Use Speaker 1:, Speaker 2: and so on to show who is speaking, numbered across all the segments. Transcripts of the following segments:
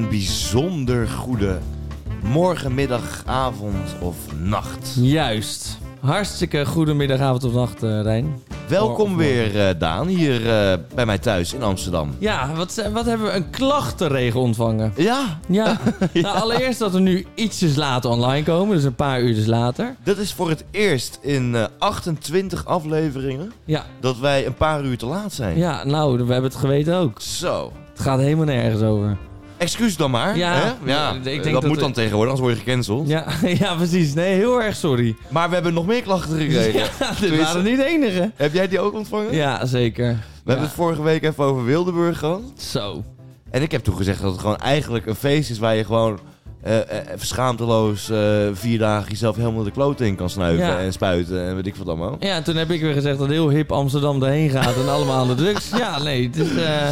Speaker 1: bijzonder goede morgen, middag, avond of nacht.
Speaker 2: Juist. Hartstikke goedemiddag, avond of nacht, eh, Rijn.
Speaker 1: Welkom
Speaker 2: Morgen.
Speaker 1: weer, eh, Daan, hier eh, bij mij thuis in Amsterdam.
Speaker 2: Ja, wat, eh, wat hebben we een klachtenregen ontvangen?
Speaker 1: Ja,
Speaker 2: Ja, Nou, allereerst dat we nu ietsjes later online komen, dus een paar uurtjes later.
Speaker 1: dat is voor het eerst in eh, 28 afleveringen
Speaker 2: Ja,
Speaker 1: dat wij een paar uur te laat zijn.
Speaker 2: ja nou, we hebben het geweten ook.
Speaker 1: Zo.
Speaker 2: Het gaat helemaal nergens over.
Speaker 1: Excuus dan maar.
Speaker 2: Ja,
Speaker 1: hè? ja. Eh,
Speaker 2: ik denk
Speaker 1: dat,
Speaker 2: dat
Speaker 1: moet
Speaker 2: we-
Speaker 1: dan tegenwoordig, anders word je gecanceld.
Speaker 2: Ja, ja precies. Nee, heel erg sorry.
Speaker 1: Maar we hebben nog meer klachten gekregen.
Speaker 2: Ja, dit
Speaker 1: Tenminste-
Speaker 2: waren niet de enige.
Speaker 1: Heb jij die ook ontvangen?
Speaker 2: Ja, zeker.
Speaker 1: We hebben het vorige week even over Wildeburg gehad.
Speaker 2: Zo.
Speaker 1: En ik heb toen gezegd dat het gewoon eigenlijk een feest is waar je gewoon eh, eh, schaamteloos eh, vier dagen jezelf helemaal de klote in kan snuiven
Speaker 2: Ja.
Speaker 1: en spuiten en weet ik wat allemaal.
Speaker 2: Ja, toen heb ik weer gezegd dat heel hip Amsterdam erheen gaat en allemaal aan de drugs. Ja, nee. Het is, eh,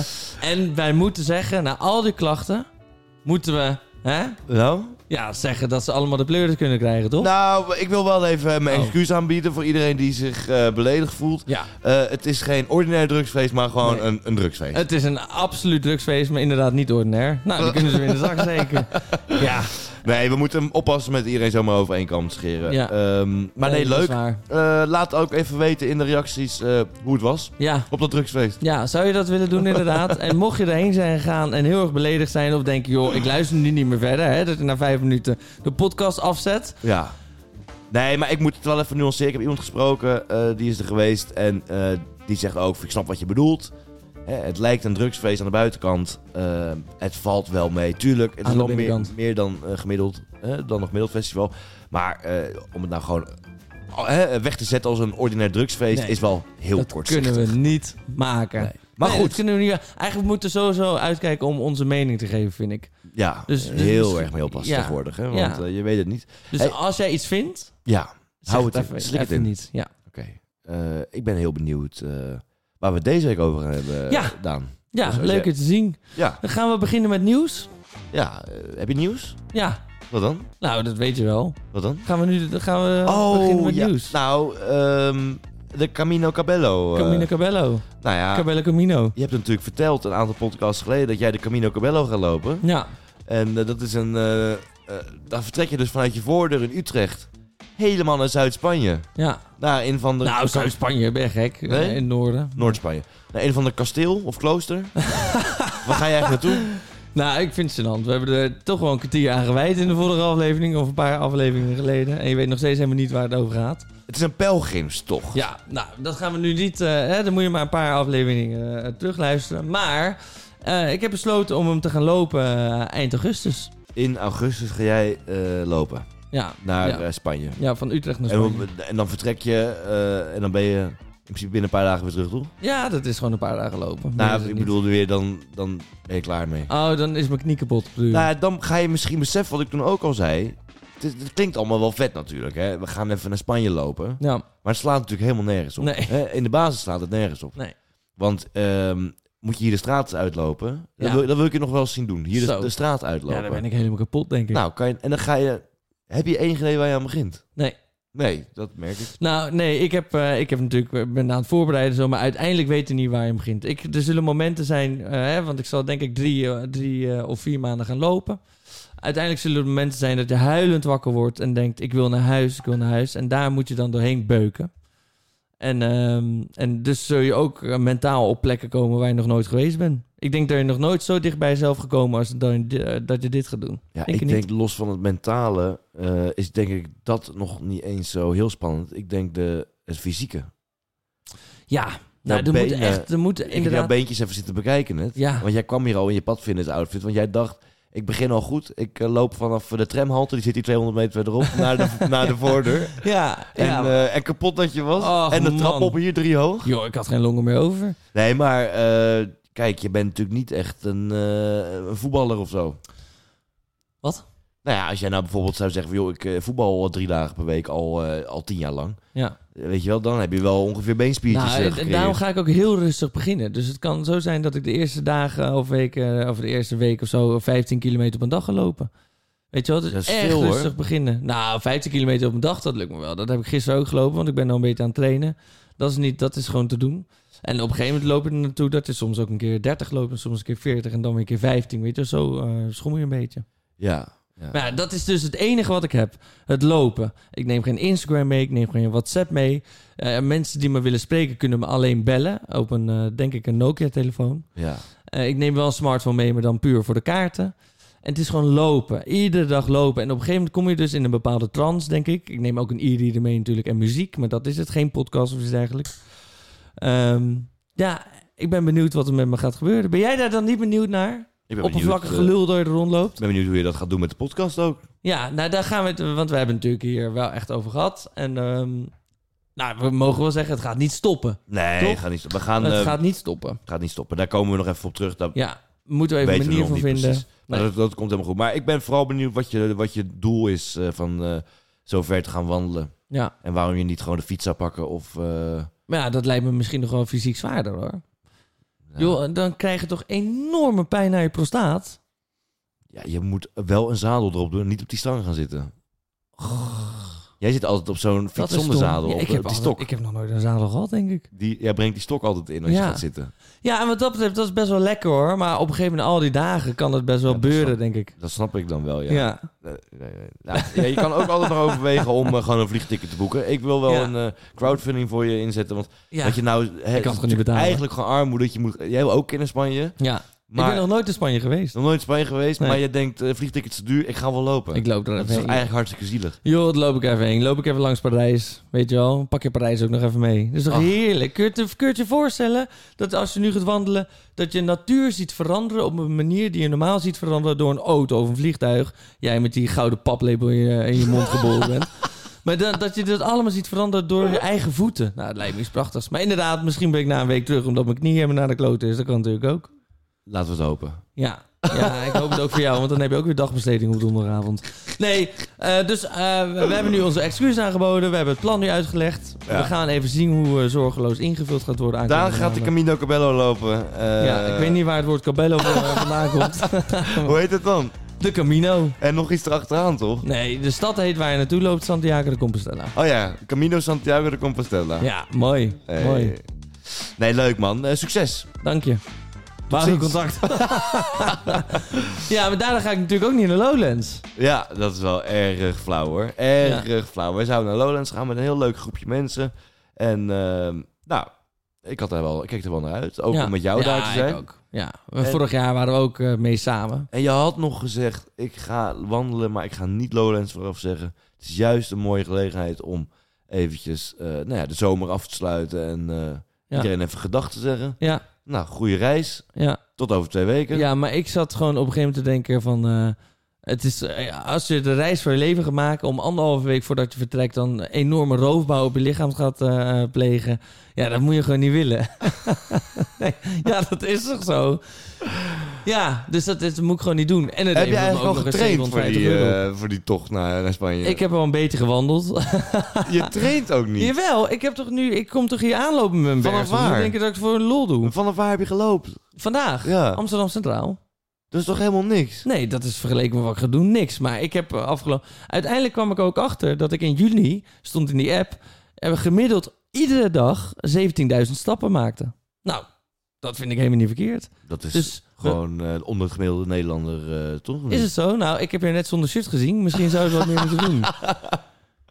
Speaker 2: En wij moeten zeggen, na al die klachten, moeten we hè,
Speaker 1: Nou?
Speaker 2: ja, zeggen dat ze allemaal de pleuris kunnen krijgen, toch?
Speaker 1: Nou, ik wil wel even eh, mijn
Speaker 2: Oh.
Speaker 1: excuus aanbieden voor iedereen die zich eh, beledigd voelt.
Speaker 2: Ja.
Speaker 1: Eh, het is geen ordinair drugsfeest, maar gewoon
Speaker 2: Nee.
Speaker 1: een, een drugsfeest.
Speaker 2: Het is een absoluut drugsfeest, maar inderdaad niet ordinair. Nou, die kunnen ze weer in de zak zeker. Ja,
Speaker 1: Nee, we moeten hem oppassen met iedereen zomaar over één kam te scheren.
Speaker 2: Ja.
Speaker 1: Ehm, maar nee,
Speaker 2: dat is
Speaker 1: leuk.
Speaker 2: waar.
Speaker 1: Eh, laat ook even weten in de reacties eh, hoe het was
Speaker 2: Ja.
Speaker 1: op dat drugsfeest.
Speaker 2: ja, zou je dat willen doen inderdaad? En mocht je erheen zijn gegaan en heel erg beledigd zijn... of denk je, joh, ik luister nu niet meer verder... Hè, dat je na vijf minuten de podcast afzet...
Speaker 1: Ja. Nee, maar ik moet het wel even nuanceren. Ik heb iemand gesproken, eh, die is er geweest. En eh, die zegt ook, ik snap wat je bedoelt. Hè, het lijkt een drugsfeest aan de buitenkant. Eh, het valt wel mee. Tuurlijk, het is
Speaker 2: Aan de
Speaker 1: wel meer,
Speaker 2: binnenkant.
Speaker 1: meer dan eh, gemiddeld. eh, dan een gemiddeld festival. Maar eh, om het nou gewoon oh, hè, weg te zetten als een ordinair drugsfeest...
Speaker 2: Nee,
Speaker 1: is wel heel
Speaker 2: dat
Speaker 1: kort.
Speaker 2: kunnen we niet maken.
Speaker 1: Nee. Maar
Speaker 2: Nee,
Speaker 1: goed,
Speaker 2: dat kunnen we niet. Eigenlijk moeten we sowieso uitkijken om onze mening te geven, vind ik.
Speaker 1: ja,
Speaker 2: dus- dus
Speaker 1: heel
Speaker 2: misschien-
Speaker 1: erg mee oppassen
Speaker 2: ja.
Speaker 1: tegenwoordig. Hè, want
Speaker 2: Ja.
Speaker 1: eh, je weet het niet.
Speaker 2: Dus
Speaker 1: Hey.
Speaker 2: als jij iets vindt,
Speaker 1: Ja,
Speaker 2: zeg
Speaker 1: Hou het in.
Speaker 2: even,
Speaker 1: Slik het
Speaker 2: even
Speaker 1: in.
Speaker 2: niet. Ja.
Speaker 1: oké. Eh, ik ben heel benieuwd eh, waar we het deze week over gaan hebben,
Speaker 2: Ja.
Speaker 1: Daan.
Speaker 2: Ja,
Speaker 1: Dus als
Speaker 2: leuk
Speaker 1: jij-
Speaker 2: het te zien.
Speaker 1: Ja,
Speaker 2: Dan gaan we beginnen met nieuws.
Speaker 1: ja. eh, heb je nieuws?
Speaker 2: Ja,
Speaker 1: Wat dan?
Speaker 2: nou, dat weet je wel.
Speaker 1: Wat dan?
Speaker 2: Gaan we nu dan gaan Eh, we beginnen met
Speaker 1: Oh, ja.
Speaker 2: nieuws.
Speaker 1: Nou, ehm, de Camino Cabello. eh,
Speaker 2: Camino Cabello.
Speaker 1: nou ja,
Speaker 2: Cabello Camino.
Speaker 1: je hebt natuurlijk verteld een aantal podcasts geleden dat jij de Camino Cabello gaat lopen.
Speaker 2: Ja,
Speaker 1: En eh, dat is een... eh, eh, daar vertrek je dus vanuit je voordeur in Utrecht. Helemaal naar Zuid-Spanje.
Speaker 2: ja.
Speaker 1: Naar een van de...
Speaker 2: nou, Zuid-Spanje, ben je gek.
Speaker 1: Nee?
Speaker 2: Eh, In het noorden.
Speaker 1: Noord-Spanje. Naar een van de kasteel of klooster. Waar ga jij echt naartoe?
Speaker 2: Nou, ik vind het gênant. We hebben er toch wel een kwartier aan gewijd in de vorige aflevering. Of een paar afleveringen geleden. En je weet nog steeds helemaal niet waar het over gaat.
Speaker 1: Het is een pelgrimstocht.
Speaker 2: Ja, nou, dat gaan we nu niet... eh, hè, dan moet je maar een paar afleveringen eh, terugluisteren. Maar eh, ik heb besloten om hem te gaan lopen eh, eind augustus.
Speaker 1: In augustus ga jij eh, lopen
Speaker 2: Ja,
Speaker 1: naar
Speaker 2: ja.
Speaker 1: eh, Spanje.
Speaker 2: ja van Utrecht naar
Speaker 1: En,
Speaker 2: Spanje.
Speaker 1: dan- en dan vertrek je eh, en dan ben je in principe binnen een paar dagen weer terug, toch?
Speaker 2: Ja, dat is gewoon een paar dagen lopen. Meer is
Speaker 1: Nou,
Speaker 2: het
Speaker 1: ik
Speaker 2: niet.
Speaker 1: bedoelde weer, dan, dan ben je klaar mee.
Speaker 2: Oh, dan is mijn knie kapot. bedoel je?
Speaker 1: Nou, ja, dan ga je misschien beseffen wat ik toen ook al zei. Het, is- het klinkt allemaal wel vet natuurlijk, hè. We gaan even naar Spanje lopen.
Speaker 2: ja,
Speaker 1: Maar het slaat natuurlijk helemaal nergens op.
Speaker 2: Nee.
Speaker 1: Hè? In de basis slaat het nergens op.
Speaker 2: Nee.
Speaker 1: Want ehm, moet je hier de straat uitlopen? Dat,
Speaker 2: Ja.
Speaker 1: wil, dat wil ik je nog wel eens zien doen. Hier de,
Speaker 2: Zo.
Speaker 1: de straat uitlopen.
Speaker 2: ja, dan ben ik helemaal kapot, denk ik. Nou,
Speaker 1: Nou, kan je, en dan ga je... Heb je één idee waar je aan begint?
Speaker 2: Nee.
Speaker 1: Nee, dat merk ik.
Speaker 2: nee, ik, heb, eh, ik heb natuurlijk, eh, ben aan het voorbereiden zo, maar uiteindelijk weet je niet waar je hem begint. Ik, er zullen momenten zijn, eh, hè, want ik zal denk ik drie, eh, drie eh, of vier maanden gaan lopen. Uiteindelijk zullen er momenten zijn dat je huilend wakker wordt en denkt: ik wil naar huis, ik wil naar huis. En daar moet je dan doorheen beuken. En, ehm, en dus zul je ook eh, mentaal op plekken komen waar je nog nooit geweest bent. Ik denk dat je nog nooit zo dicht bij jezelf gekomen als dan, eh, dat je dit gaat doen.
Speaker 1: Ja,
Speaker 2: Denk
Speaker 1: ik
Speaker 2: je niet?
Speaker 1: denk los van het mentale eh, is denk ik dat nog niet eens zo heel spannend. Ik denk de, het fysieke.
Speaker 2: Ja, nou, er
Speaker 1: ben
Speaker 2: moet
Speaker 1: je-
Speaker 2: echt, er moet
Speaker 1: Ik heb jouw
Speaker 2: inderdaad.
Speaker 1: beentjes even zitten bekijken net.
Speaker 2: Ja,
Speaker 1: Want jij kwam hier al in je padvinders outfit. Want jij dacht, ik begin al goed. Ik eh, loop vanaf de tramhalte, die zit hier 200 meter verderop, naar de, naar de voordeur.
Speaker 2: ja,
Speaker 1: En,
Speaker 2: ja.
Speaker 1: eh, en kapot dat je was.
Speaker 2: Och,
Speaker 1: en de trap
Speaker 2: man.
Speaker 1: op hier drie hoog.
Speaker 2: Joh, ik had geen longen meer over.
Speaker 1: Nee, maar eh, kijk, je bent natuurlijk niet echt een, eh, een voetballer of zo.
Speaker 2: Wat?
Speaker 1: Nou ja, als jij nou bijvoorbeeld zou zeggen, van, joh, ik eh, voetbal al drie dagen per week al, eh, al tien jaar lang.
Speaker 2: Ja.
Speaker 1: Eh, Weet je wel, dan heb je wel ongeveer beenspiertjes
Speaker 2: Nou,
Speaker 1: eh,
Speaker 2: en- en
Speaker 1: gecreëerd.
Speaker 2: daarom ga ik ook heel rustig beginnen. Dus het kan zo eh, zijn dat ik de eerste dagen of weken, eh, of de eerste week of zo, 15 kilometer per dag ga lopen. Weet je wel, het is,
Speaker 1: Dat is
Speaker 2: echt
Speaker 1: veel, hoor.
Speaker 2: rustig beginnen. Nou, 15 kilometer op een dag, dat lukt me wel. Dat heb ik gisteren ook gelopen, want ik ben al een beetje aan het trainen. Dat is, niet, dat is gewoon te doen. En op een gegeven moment loop je er naartoe dat je soms ook een keer 30 loopt... en soms een keer 40 en dan weer een keer 15, weet je wel. Zo eh schommel je een beetje.
Speaker 1: Ja.
Speaker 2: Maar ja, dat is dus het enige wat ik heb. Het lopen. Ik neem geen Instagram mee, ik neem geen WhatsApp mee. Eh, mensen die me willen spreken kunnen me alleen bellen. Op een, eh, denk ik, een Nokia-telefoon.
Speaker 1: Ja.
Speaker 2: Eh, ik neem wel een smartphone mee, maar dan puur voor de kaarten. En het is gewoon lopen. Iedere dag lopen. En op een gegeven moment kom je dus in een bepaalde trance, denk ik. Ik neem ook een e-reader mee natuurlijk en muziek. Maar dat is het. Geen podcast of iets dergelijks. Ehm, ja, ik ben benieuwd wat er met me gaat gebeuren. Ben jij daar dan niet benieuwd naar?
Speaker 1: Ik ben
Speaker 2: Oppervlakkig
Speaker 1: benieuwd, eh,
Speaker 2: gelul door je er rondloopt?
Speaker 1: Ik ben benieuwd hoe je dat gaat doen met de podcast ook.
Speaker 2: Ja, nou daar gaan we het, want we hebben het natuurlijk hier wel echt over gehad. En ehm, nou, we mogen wel zeggen, het gaat niet stoppen.
Speaker 1: Nee,
Speaker 2: Toch?
Speaker 1: gaat niet, we gaan,
Speaker 2: het
Speaker 1: eh, gaat...
Speaker 2: gaat niet stoppen.
Speaker 1: niet stoppen. Daar komen we nog even op terug. Daar
Speaker 2: Ja, moeten we even een
Speaker 1: weten we
Speaker 2: manier
Speaker 1: nog
Speaker 2: van
Speaker 1: niet
Speaker 2: vinden.
Speaker 1: precies. Maar
Speaker 2: Nee.
Speaker 1: dat, dat komt helemaal goed. Maar ik ben vooral benieuwd wat je, wat je doel is eh, van eh, zo ver te gaan wandelen.
Speaker 2: Ja.
Speaker 1: En waarom je niet gewoon de fiets zou pakken of... eh,
Speaker 2: Maar ja, dat lijkt me misschien nog wel fysiek zwaarder hoor.
Speaker 1: ja.
Speaker 2: Joh, dan krijg je toch enorme pijn naar je prostaat.
Speaker 1: Ja, je moet wel een zadel erop doen, niet op die stang gaan zitten. Jij zit altijd op zo'n
Speaker 2: Dat
Speaker 1: fiets
Speaker 2: is
Speaker 1: zonder
Speaker 2: stom.
Speaker 1: zadel,
Speaker 2: Ja,
Speaker 1: op,
Speaker 2: ik,
Speaker 1: eh,
Speaker 2: heb
Speaker 1: op die
Speaker 2: altijd-
Speaker 1: stok.
Speaker 2: ik heb nog nooit een zadel gehad, denk ik.
Speaker 1: Die, jij brengt die stok altijd in als
Speaker 2: Ja.
Speaker 1: je gaat zitten.
Speaker 2: Ja, en wat dat betreft, dat is best wel lekker hoor. Maar op een gegeven moment, al die dagen, kan het best wel
Speaker 1: Ja, dat
Speaker 2: beuren,
Speaker 1: snap-
Speaker 2: denk ik.
Speaker 1: Dat snap ik dan wel, ja.
Speaker 2: Ja.
Speaker 1: Nee, nee, nee. Nou, ja, je kan ook altijd nog overwegen om eh, gewoon een vliegticket te boeken. Ik wil wel
Speaker 2: Ja.
Speaker 1: een eh, crowdfunding voor je inzetten. Want
Speaker 2: Ja.
Speaker 1: dat je nou... hè, het is
Speaker 2: gewoon niet
Speaker 1: natuurlijk
Speaker 2: betalen.
Speaker 1: Eigenlijk gewoon armoede. Dat je moet, jij wil ook kennen Spanje.
Speaker 2: ja.
Speaker 1: Maar
Speaker 2: Ik ben nog nooit in Spanje geweest.
Speaker 1: nog nooit in Spanje geweest.
Speaker 2: Nee.
Speaker 1: Maar je denkt, eh, vliegtickets te duur. Ik ga wel lopen.
Speaker 2: Ik loop er
Speaker 1: dat is
Speaker 2: even
Speaker 1: toch
Speaker 2: heen.
Speaker 1: eigenlijk hartstikke zielig.
Speaker 2: Joh, dat loop ik even heen. Loop ik even langs Parijs. Weet je wel, pak je Parijs ook nog even mee. Dat is toch
Speaker 1: Ach.
Speaker 2: heerlijk. Kun je, het, kun je het je voorstellen dat als je nu gaat wandelen... dat je natuur ziet veranderen op een manier die je normaal ziet veranderen... door een auto of een vliegtuig. Jij met die gouden paplepel in je, in je mond geboren bent. Maar dan, dat je dat allemaal ziet veranderen door je eigen voeten. Nou, dat lijkt me iets prachtigs. Maar inderdaad, misschien ben ik na een week terug... omdat mijn knie helemaal naar de klote is. Dat kan natuurlijk ook.
Speaker 1: Laten we het hopen.
Speaker 2: Ja. ja, ik hoop het ook voor jou, want dan heb je ook weer dagbesteding op donderdagavond. Nee, eh, dus eh, we, we hebben nu onze excuus aangeboden. We hebben het plan nu uitgelegd.
Speaker 1: Ja.
Speaker 2: We gaan even zien hoe eh, zorgeloos ingevuld gaat worden.
Speaker 1: Daar
Speaker 2: aankomende
Speaker 1: gaat de
Speaker 2: maanden.
Speaker 1: Camino Cabello lopen. Eh,
Speaker 2: Ja, ik weet niet waar het woord Cabello van- vandaan komt.
Speaker 1: Hoe heet het dan?
Speaker 2: De Camino.
Speaker 1: En nog iets erachteraan, toch?
Speaker 2: Nee, de stad heet waar je naartoe loopt, Santiago de Compostela.
Speaker 1: Oh ja, Camino Santiago de Compostela.
Speaker 2: Ja, mooi.
Speaker 1: Hey.
Speaker 2: Mooi.
Speaker 1: Nee, leuk man. Eh, succes.
Speaker 2: Dank je. We houden
Speaker 1: ziens.
Speaker 2: contact. ja, maar daarna ga ik natuurlijk ook niet naar Lowlands.
Speaker 1: Ja, dat is wel erg flauw hoor. Erg flauw. Wij zouden naar Lowlands gaan met een heel leuk groepje mensen. En ehm, nou, ik, had daar wel, ik keek er wel naar uit. Ook
Speaker 2: Ja.
Speaker 1: om met jou
Speaker 2: Ja,
Speaker 1: daar te
Speaker 2: ik
Speaker 1: zijn.
Speaker 2: ook. Ja,
Speaker 1: En-
Speaker 2: vorig jaar waren we ook eh, mee samen.
Speaker 1: En je had nog gezegd, ik ga wandelen, maar ik ga niet Lowlands vooraf zeggen. Het is juist een mooie gelegenheid om eventjes eh, nou ja, de zomer af te sluiten. En eh,
Speaker 2: Ja.
Speaker 1: iedereen even gedag te zeggen.
Speaker 2: Ja,
Speaker 1: Nou, goede reis.
Speaker 2: ja.
Speaker 1: Tot over twee weken.
Speaker 2: ja, maar ik zat gewoon op een gegeven moment te denken van... eh, het is, eh, als je de reis van je leven gaat maken... om anderhalve week voordat je vertrekt... dan een enorme roofbouw op je lichaam gaat eh, plegen... ja, dat moet je gewoon niet willen. nee, ja, dat is toch zo? Ja, dus dat, is- dat moet ik gewoon niet doen. En het
Speaker 1: Heb je
Speaker 2: levert me
Speaker 1: eigenlijk al
Speaker 2: ook nog eens
Speaker 1: getraind voor
Speaker 2: 750
Speaker 1: die,
Speaker 2: euro op.
Speaker 1: eh, voor die tocht naar, naar Spanje?
Speaker 2: Ik heb wel een beetje gewandeld.
Speaker 1: Je traint ook niet.
Speaker 2: Jawel, ik heb toch nu... Ik kom toch hier aanlopen met mijn
Speaker 1: Vanaf
Speaker 2: berg. Dus
Speaker 1: waar?
Speaker 2: Ik denk dat ik het voor een lol doe.
Speaker 1: Vanaf waar heb je gelopen?
Speaker 2: Vandaag,
Speaker 1: Ja.
Speaker 2: Amsterdam Centraal.
Speaker 1: Dat is toch helemaal niks?
Speaker 2: Nee, dat is vergeleken met wat ik ga doen niks. Maar ik heb eh, afgelopen... Uiteindelijk kwam ik ook achter dat ik in juni, stond in die app... en we gemiddeld iedere dag 17.000 stappen maakte. Nou, dat vind ik helemaal niet verkeerd.
Speaker 1: Dat is
Speaker 2: Dus
Speaker 1: gewoon eh onder het gemiddelde Nederlander, eh, toch?
Speaker 2: is het zo? Nou, ik heb je net zonder shirt gezien. Misschien zou je wat meer moeten doen.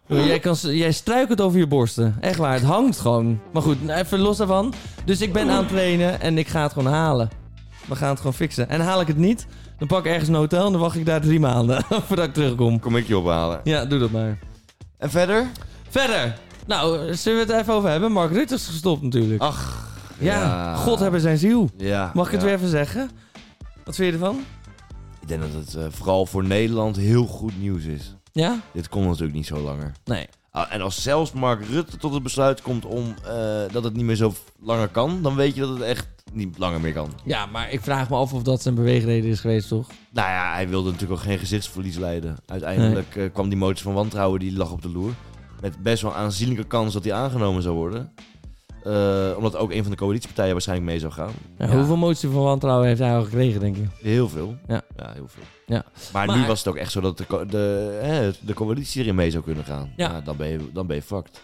Speaker 2: Jij, kan, jij struikelt over je borsten. Echt waar, het hangt gewoon. Maar goed, nou, even los daarvan. Dus ik ben aan het trainen en ik ga het gewoon halen. We gaan het gewoon fixen. En haal ik het niet, dan pak ik ergens een hotel... en dan wacht ik daar drie maanden voordat ik terugkom.
Speaker 1: Kom ik je ophalen.
Speaker 2: Ja, doe dat maar.
Speaker 1: En verder?
Speaker 2: Verder. Nou, zullen we het even over hebben? Mark Rutte is gestopt natuurlijk.
Speaker 1: Ach.
Speaker 2: ja. God hebben zijn ziel.
Speaker 1: Ja.
Speaker 2: Mag ik het
Speaker 1: ja.
Speaker 2: weer even zeggen? Wat vind je ervan?
Speaker 1: Ik denk dat het eh, vooral voor Nederland heel goed nieuws is.
Speaker 2: Ja?
Speaker 1: Dit kon natuurlijk niet zo langer.
Speaker 2: Nee.
Speaker 1: Ah, en als zelfs Mark Rutte tot het besluit komt om eh, dat het niet meer zo langer kan, dan weet je dat het echt niet langer meer kan.
Speaker 2: Ja, maar ik vraag me af of dat zijn beweegreden is geweest, toch?
Speaker 1: Nou ja, hij wilde natuurlijk ook geen gezichtsverlies leiden. Uiteindelijk eh, kwam die motie van wantrouwen, die lag op de loer. Met best wel aanzienlijke kans dat hij aangenomen zou worden. Eh, omdat ook een van de coalitiepartijen waarschijnlijk mee zou gaan.
Speaker 2: Nou,
Speaker 1: Ja.
Speaker 2: Hoeveel motie van wantrouwen heeft hij al gekregen, denk je?
Speaker 1: Heel veel.
Speaker 2: Ja.
Speaker 1: heel veel.
Speaker 2: Ja.
Speaker 1: Maar, nu
Speaker 2: Maar-
Speaker 1: was het ook echt zo dat de, co- de, hè, de coalitie erin mee zou kunnen gaan. Nou,
Speaker 2: Ja.
Speaker 1: dan, ben je, dan ben je fucked.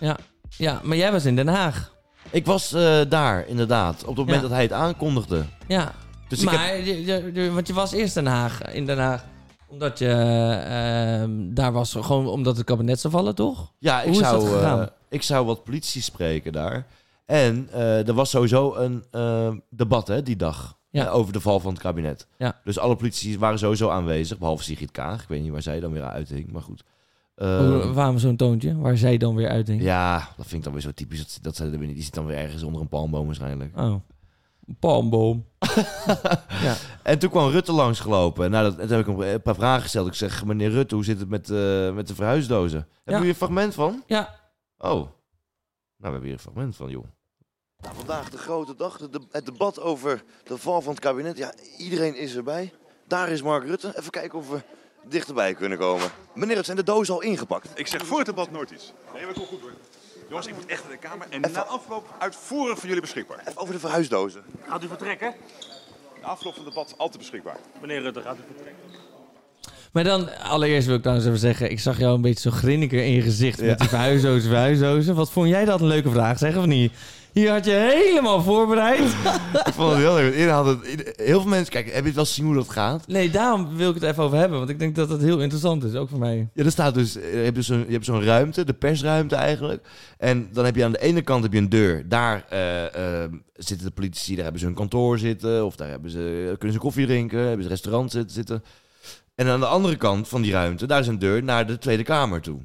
Speaker 2: Ja, maar jij was in Den Haag.
Speaker 1: Ik was eh, daar, inderdaad. Op het moment
Speaker 2: Ja.
Speaker 1: dat hij het aankondigde.
Speaker 2: Ja,
Speaker 1: Dus ik heb...
Speaker 2: maar, je- je- je- want je was eerst Den Haag, in Den Haag. Omdat je ehm, daar was, gewoon omdat het kabinet zou vallen, toch?
Speaker 1: Ja, ik
Speaker 2: Hoe is dat
Speaker 1: zou, eh,
Speaker 2: gegaan?
Speaker 1: ik zou wat politie spreken daar. En eh, er was sowieso een eh, debat hè, die dag
Speaker 2: Ja.
Speaker 1: Eh, over de val van het kabinet.
Speaker 2: Ja.
Speaker 1: Dus alle politici waren sowieso aanwezig, behalve Sigrid Kaag. Ik weet niet waar zij dan weer uit hing, maar goed. Eh,
Speaker 2: Hoe- Waarom zo'n toontje? Waar zij dan weer uit denkt.
Speaker 1: ja, dat vind ik dan weer zo typisch. Dat, dat zij er weer niet. Die zit dan weer ergens onder een palmboom waarschijnlijk.
Speaker 2: Oh. Palmboom.
Speaker 1: En toen kwam Rutte langsgelopen. Nou, dat, en toen heb ik hem een paar vragen gesteld. Ik zeg, meneer Rutte, hoe zit het met, eh, met de verhuisdozen? Hebben jullie een fragment van?
Speaker 2: Ja.
Speaker 1: Oh. Nou, we hebben hier een fragment van, joh.
Speaker 3: Nou, vandaag de grote dag, de- de- het debat over de val van het kabinet. Ja, iedereen is erbij. Daar is Mark Rutte. Even kijken of we dichterbij kunnen komen. Meneer, het zijn de dozen al ingepakt.
Speaker 4: Ik zeg voor het debat nooit iets. Nee, maar kom goed door. Jongens, ik moet echt naar de Kamer. En na afloop uitvoerig voor jullie beschikbaar.
Speaker 3: Even over de verhuisdozen.
Speaker 5: Gaat u vertrekken?
Speaker 4: Na afloop van het debat altijd beschikbaar.
Speaker 5: Meneer Rutte, gaat u vertrekken?
Speaker 2: Maar dan, allereerst wil ik trouwens even zeggen... ik zag jou een beetje zo grinniker in je gezicht...
Speaker 1: Ja.
Speaker 2: met die verhuisdozen, verhuisdozen. Wat vond jij dat een leuke vraag, zeg of niet? Hier had je helemaal voorbereid.
Speaker 1: Ik vond het heel leuk. want iedereen had het- ieder- heel veel mensen, kijk, heb je het wel zien hoe dat gaat?
Speaker 2: Nee, daarom wil ik het even over hebben. Want ik denk dat dat heel interessant is, ook voor mij.
Speaker 1: Ja, er staat dus, je hebt dus een, je hebt zo'n ruimte, de persruimte eigenlijk. En dan heb je aan de ene kant heb je een deur. Daar eh, eh, zitten de politici, daar hebben ze hun kantoor zitten. Of daar hebben ze, kunnen ze koffie drinken, hebben ze restaurant zitten, zitten. En aan de andere kant van die ruimte, daar is een deur naar de Tweede Kamer toe.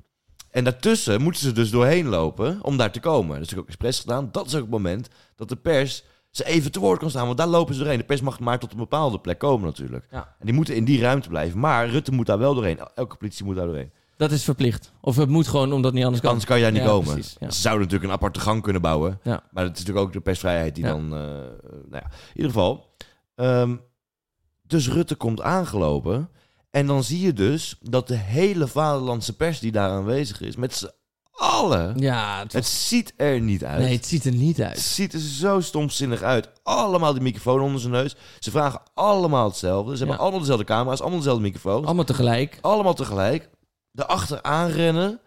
Speaker 1: En daartussen moeten ze dus doorheen lopen om daar te komen. Dat is natuurlijk ook expres gedaan. Dat is ook het moment dat de pers ze even te woord kan staan. Want daar lopen ze doorheen. De pers mag maar tot een bepaalde plek komen natuurlijk.
Speaker 2: Ja.
Speaker 1: En die moeten in die ruimte blijven. Maar Rutte moet daar wel doorheen. Elke politie moet daar doorheen.
Speaker 2: Dat is verplicht. Of het moet gewoon, omdat het niet anders kan.
Speaker 1: Anders kan je daar niet
Speaker 2: Ja,
Speaker 1: komen.
Speaker 2: precies, ja.
Speaker 1: Ze zouden natuurlijk een aparte gang kunnen bouwen.
Speaker 2: Ja.
Speaker 1: Maar het is natuurlijk ook de persvrijheid die
Speaker 2: Ja.
Speaker 1: dan... eh, nou ja. In ieder geval. ehm, dus Rutte komt aangelopen. En dan zie je dus dat de hele vaderlandse pers die daar aanwezig is... met z'n allen...
Speaker 2: Ja, het,
Speaker 1: Het ziet er niet uit.
Speaker 2: nee, het ziet er niet
Speaker 1: Het
Speaker 2: uit.
Speaker 1: ziet er zo stomzinnig uit. Allemaal die microfoon onder zijn neus. Ze vragen allemaal hetzelfde. Ze hebben
Speaker 2: Ja.
Speaker 1: allemaal dezelfde camera's, allemaal dezelfde microfoons.
Speaker 2: Allemaal tegelijk.
Speaker 1: Allemaal tegelijk. Daarachter aanrennen.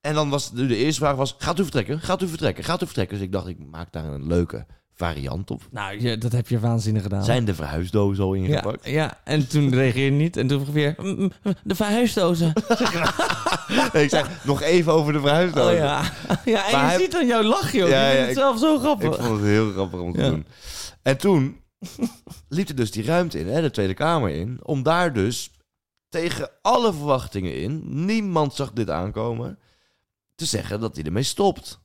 Speaker 1: En dan was de, de eerste vraag was, gaat u vertrekken? Gaat u vertrekken? Gaat u vertrekken? Dus ik dacht, ik maak daar een leuke variant op.
Speaker 2: Nou, je- dat heb je waanzinnig gedaan.
Speaker 1: Zijn de verhuisdozen al
Speaker 2: ja,
Speaker 1: ingepakt?
Speaker 2: ja, en toen reageerde je niet. En toen weer, "Mm, mm, de verhuisdozen.
Speaker 1: ik zei, nog even over de verhuisdozen.
Speaker 2: Oh ja. Ja, en
Speaker 1: Nou, Maar
Speaker 2: je
Speaker 1: hij-
Speaker 2: ziet dan jouw lachje ook.
Speaker 1: Ja,
Speaker 2: je vindt
Speaker 1: ja,
Speaker 2: het
Speaker 1: ik-
Speaker 2: zelf zo
Speaker 1: Ik
Speaker 2: grappig.
Speaker 1: vond het heel grappig om te
Speaker 2: Ja.
Speaker 1: doen. En toen liep er dus die ruimte in, hè, de Tweede Kamer in, om daar dus tegen alle verwachtingen in, niemand zag dit aankomen, te zeggen dat hij ermee stopt.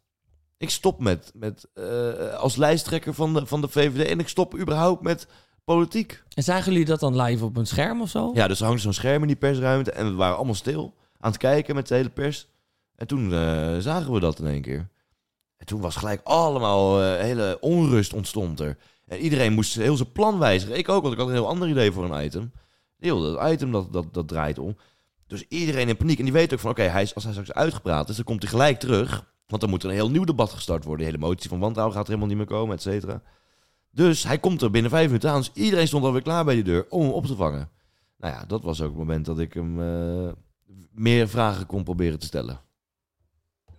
Speaker 1: Ik stop met, met eh, als lijsttrekker van de, van de VVD en ik stop überhaupt met politiek.
Speaker 2: En zagen jullie dat dan live op een scherm of zo?
Speaker 1: Ja, dus er hangt zo'n scherm in die persruimte en we waren allemaal stil aan het kijken met de hele pers. En toen eh, zagen we dat in één keer. En toen was gelijk allemaal eh, hele onrust ontstond er. En iedereen moest heel zijn plan wijzigen. Ik ook, want ik had een heel ander idee voor een item. Heel dat item dat, dat, dat draait om. Dus iedereen in paniek. En die weet ook van, oké, hij is als hij straks uitgepraat is, dan komt hij gelijk terug. Want dan moet er een heel nieuw debat gestart worden. De hele motie van wantrouwen gaat er helemaal niet meer komen, et cetera. Dus hij komt er binnen vijf minuten aan. Dus iedereen stond alweer klaar bij die deur om hem op te vangen. Nou ja, dat was ook het moment dat ik hem eh, meer vragen kon proberen te stellen.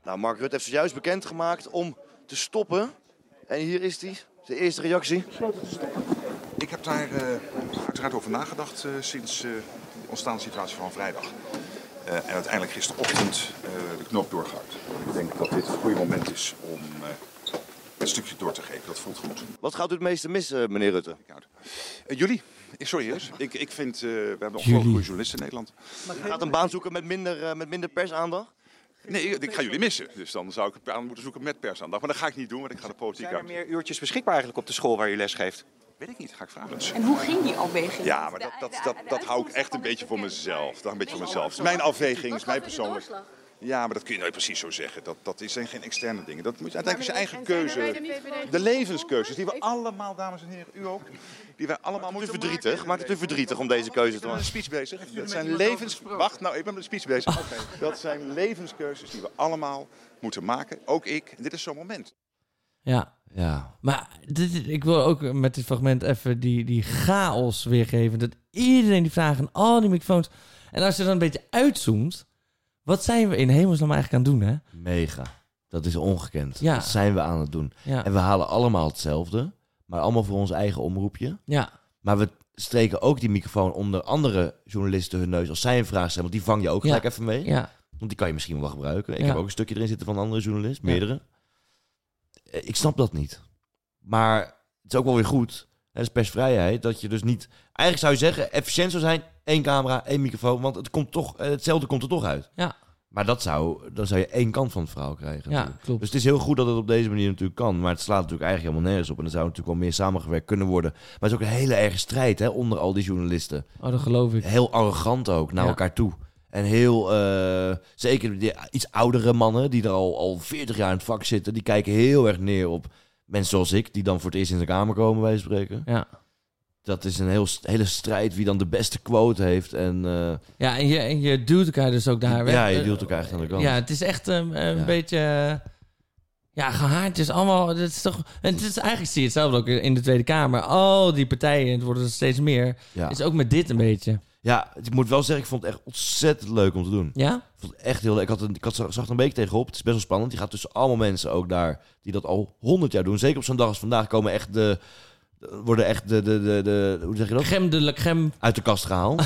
Speaker 3: Nou, Mark Rutte heeft zojuist bekendgemaakt om te stoppen. En hier is hij, de eerste reactie.
Speaker 4: Ik heb daar eh, uiteraard over nagedacht eh, sinds eh, de ontstaande situatie van vrijdag. Eh, en uiteindelijk gisterochtend eh, de knoop doorgehakt. Ik denk dat dit het goede moment is om eh, een stukje door te geven. Dat voelt goed.
Speaker 3: Wat gaat u het meeste missen, meneer Rutte?
Speaker 4: Eh, jullie? Eh, Sorry, hè? ik, ik vind, eh, we hebben ongelooflijk goede journalisten in Nederland.
Speaker 3: U gaat een baan zoeken met minder, eh, met minder persaandacht?
Speaker 4: Nee, ik, ik ga jullie missen. Dus dan zou ik het aan moeten zoeken met persaandacht. Maar dat ga ik niet doen, want ik ga de politiek
Speaker 6: Zijn er
Speaker 4: uit.
Speaker 6: meer uurtjes beschikbaar eigenlijk op de school waar je les geeft?
Speaker 4: Weet ik niet, ga ik vragen.
Speaker 7: En hoe ging die afweging?
Speaker 4: Ja, maar dat, dat, dat, dat hou ik echt een beetje voor mezelf. Dat hou ik een beetje voor mezelf. Het is mijn afweging, het is mijn persoonlijk. Ja, maar dat kun je nooit precies zo zeggen. Dat, dat zijn geen externe dingen. Dat moet je uiteindelijk zijn eigen keuze. De levenskeuzes die we allemaal, dames en heren, u ook, die wij allemaal
Speaker 3: Maakt
Speaker 4: moeten
Speaker 3: u verdrietig? Maakt het u verdrietig om deze keuze
Speaker 4: ik
Speaker 3: te
Speaker 4: ben met een
Speaker 3: maken?
Speaker 4: speech bezig. Dat zijn levens... Wacht, nou, ik ben met een speech bezig. Dat zijn levenskeuzes die we allemaal moeten maken. Ook ik. En dit is zo'n moment.
Speaker 2: Ja.
Speaker 1: Ja.
Speaker 2: Maar dit, ik wil ook met dit fragment even die, die chaos weergeven. Dat iedereen die vragen aan al die microfoons. En als je dan een beetje uitzoomt. Wat zijn we in hemelsnaam eigenlijk aan het doen, hè?
Speaker 1: Mega. Dat is ongekend.
Speaker 2: Ja.
Speaker 1: Dat zijn we aan het doen.
Speaker 2: Ja.
Speaker 1: En we halen allemaal hetzelfde, maar allemaal voor ons eigen omroepje.
Speaker 2: Ja.
Speaker 1: Maar we streken ook die microfoon onder andere journalisten hun neus als zij een vraag stellen. Want die vang je ook
Speaker 2: Ja.
Speaker 1: gelijk even mee.
Speaker 2: Ja.
Speaker 1: Want die kan je misschien wel gebruiken. Ik
Speaker 2: Ja.
Speaker 1: heb ook een stukje erin zitten van een andere journalist, meerdere. Eh, Ik snap dat niet. Maar het is ook wel weer goed, hè, dat is persvrijheid, dat je dus niet... Eigenlijk zou je zeggen, efficiënt zou zijn, één camera, één microfoon, want het komt toch, eh, hetzelfde komt er toch uit.
Speaker 2: Ja.
Speaker 1: Maar dat zou, dan zou je één kant van het verhaal krijgen.
Speaker 2: Ja,
Speaker 1: natuurlijk.
Speaker 2: klopt.
Speaker 1: Dus het is heel goed dat het op deze manier natuurlijk kan. Maar het slaat natuurlijk eigenlijk helemaal nergens op. En er zou natuurlijk wel meer samengewerkt kunnen worden. Maar het is ook een hele erge strijd hè, onder al die journalisten
Speaker 2: Oh, dat geloof ik.
Speaker 1: heel arrogant ook naar
Speaker 2: Ja.
Speaker 1: elkaar toe. En heel, eh, zeker die iets oudere mannen die er al, al 40 jaar in het vak zitten, die kijken heel erg neer op mensen zoals ik, die dan voor het eerst in de kamer komen, wij spreken.
Speaker 2: Ja.
Speaker 1: Dat is een heel, st- hele strijd wie dan de beste quote heeft. En eh,
Speaker 2: Ja, en je, en je duwt elkaar dus ook daar weg.
Speaker 1: ja, je duwt elkaar echt aan de kant.
Speaker 2: Ja, het is echt um, een
Speaker 1: Ja.
Speaker 2: beetje... eh, Ja, gehaard is allemaal... Het is toch, en het is, eigenlijk zie je hetzelfde ook in de Tweede Kamer. Al die partijen, het worden er steeds meer.
Speaker 1: Ja.
Speaker 2: Is ook met dit een beetje.
Speaker 1: Ja, ik moet wel zeggen, ik vond het echt ontzettend leuk om te doen.
Speaker 2: Ja?
Speaker 1: Ik vond het echt heel leuk. Ik, had een, ik had, zag er een beetje tegenop. Het is best wel spannend. Je gaat tussen allemaal mensen ook daar die dat al 100 jaar doen. Zeker op zo'n dag als vandaag komen echt de... Worden echt de, de, de, de... Hoe zeg je dat?
Speaker 2: Gem de la crème.
Speaker 1: uit de kast gehaald.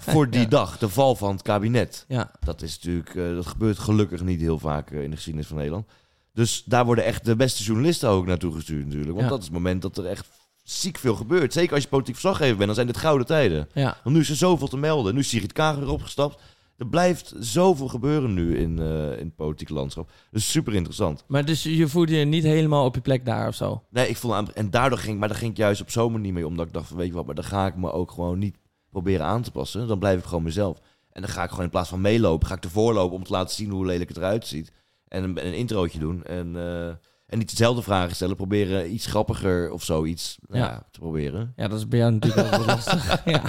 Speaker 1: voor die dag, de val van het kabinet.
Speaker 2: Ja.
Speaker 1: Dat is natuurlijk, eh, dat gebeurt gelukkig niet heel vaak eh, in de geschiedenis van Nederland. Dus daar worden echt de beste journalisten ook naartoe gestuurd natuurlijk. Want
Speaker 2: Ja.
Speaker 1: dat is het moment dat er echt ziek veel gebeurt. Zeker als je politiek verslaggever bent, dan zijn dit gouden tijden.
Speaker 2: Ja.
Speaker 1: Want nu is er zoveel te melden. Nu is Sigrid Kaag weer opgestapt. Er blijft zoveel gebeuren nu in, eh, in het politieke landschap. Dus super interessant.
Speaker 2: Maar dus je voelde je niet helemaal op je plek daar of zo?
Speaker 1: Nee, ik voelde aan, en daardoor ging ik, maar daar ging ik juist op zo'n manier mee om. Dat ik dacht van, weet je wat, maar dan ga ik me ook gewoon niet proberen aan te passen. Dan blijf ik gewoon mezelf. En dan ga ik gewoon in plaats van meelopen, ga ik ervoor lopen om te laten zien hoe lelijk het eruit ziet. En een, een introotje doen. En, eh, en niet dezelfde vragen stellen, proberen iets grappiger of zoiets nou
Speaker 2: Ja.
Speaker 1: ja, te proberen.
Speaker 2: Ja, dat is bij jou natuurlijk wel wat lastig. Ja.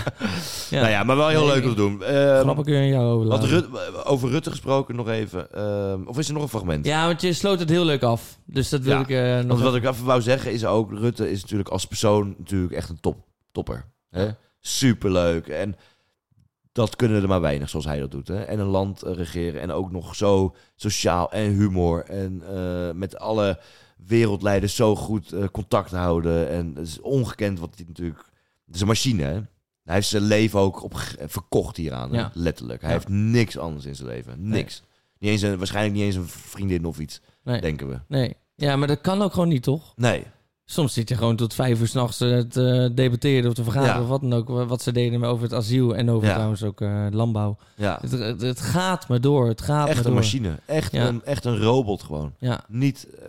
Speaker 2: Ja.
Speaker 1: Nou ja, maar wel heel
Speaker 2: Nee,
Speaker 1: leuk
Speaker 2: ik-
Speaker 1: om te doen. Eh,
Speaker 2: Grappig kun je jou
Speaker 1: wat
Speaker 2: overlaten.
Speaker 1: Rut- over Rutte gesproken nog even. Ehm, of is er nog een fragment?
Speaker 2: Ja, want je sloot het heel leuk af. Dus dat wil
Speaker 1: Ja,
Speaker 2: ik eh, nog...
Speaker 1: Want wat ik even wou zeggen is ook, Rutte is natuurlijk als persoon natuurlijk echt een top, topper. Hè? Superleuk. En dat kunnen er maar weinig zoals hij dat doet. Hè? En een land eh, regeren en ook nog zo sociaal en humor. En eh, met alle wereldleiders zo goed eh, contact houden. En het is ongekend wat hij natuurlijk... Het is een machine, hè? Hij heeft zijn leven ook op, verkocht hieraan, hè?
Speaker 2: Ja.
Speaker 1: letterlijk. Hij
Speaker 2: Ja.
Speaker 1: heeft niks anders in zijn leven. Niks. Niet eens een, waarschijnlijk niet eens een vriendin of iets,
Speaker 2: Nee.
Speaker 1: denken we.
Speaker 2: nee. Ja, maar dat kan ook gewoon niet, toch?
Speaker 1: Nee.
Speaker 2: Soms zit je gewoon tot vijf uur s'nachts eh, te debatteren of te vergaderen
Speaker 1: Ja.
Speaker 2: of wat dan ook. Wat ze deden over het asiel en over
Speaker 1: Ja.
Speaker 2: trouwens ook eh, landbouw.
Speaker 1: Ja.
Speaker 2: Het, het, het gaat maar door. Het gaat
Speaker 1: Echt
Speaker 2: maar
Speaker 1: een
Speaker 2: door.
Speaker 1: machine. Echt,
Speaker 2: Ja.
Speaker 1: een, echt een robot gewoon.
Speaker 2: Ja.
Speaker 1: Niet, eh,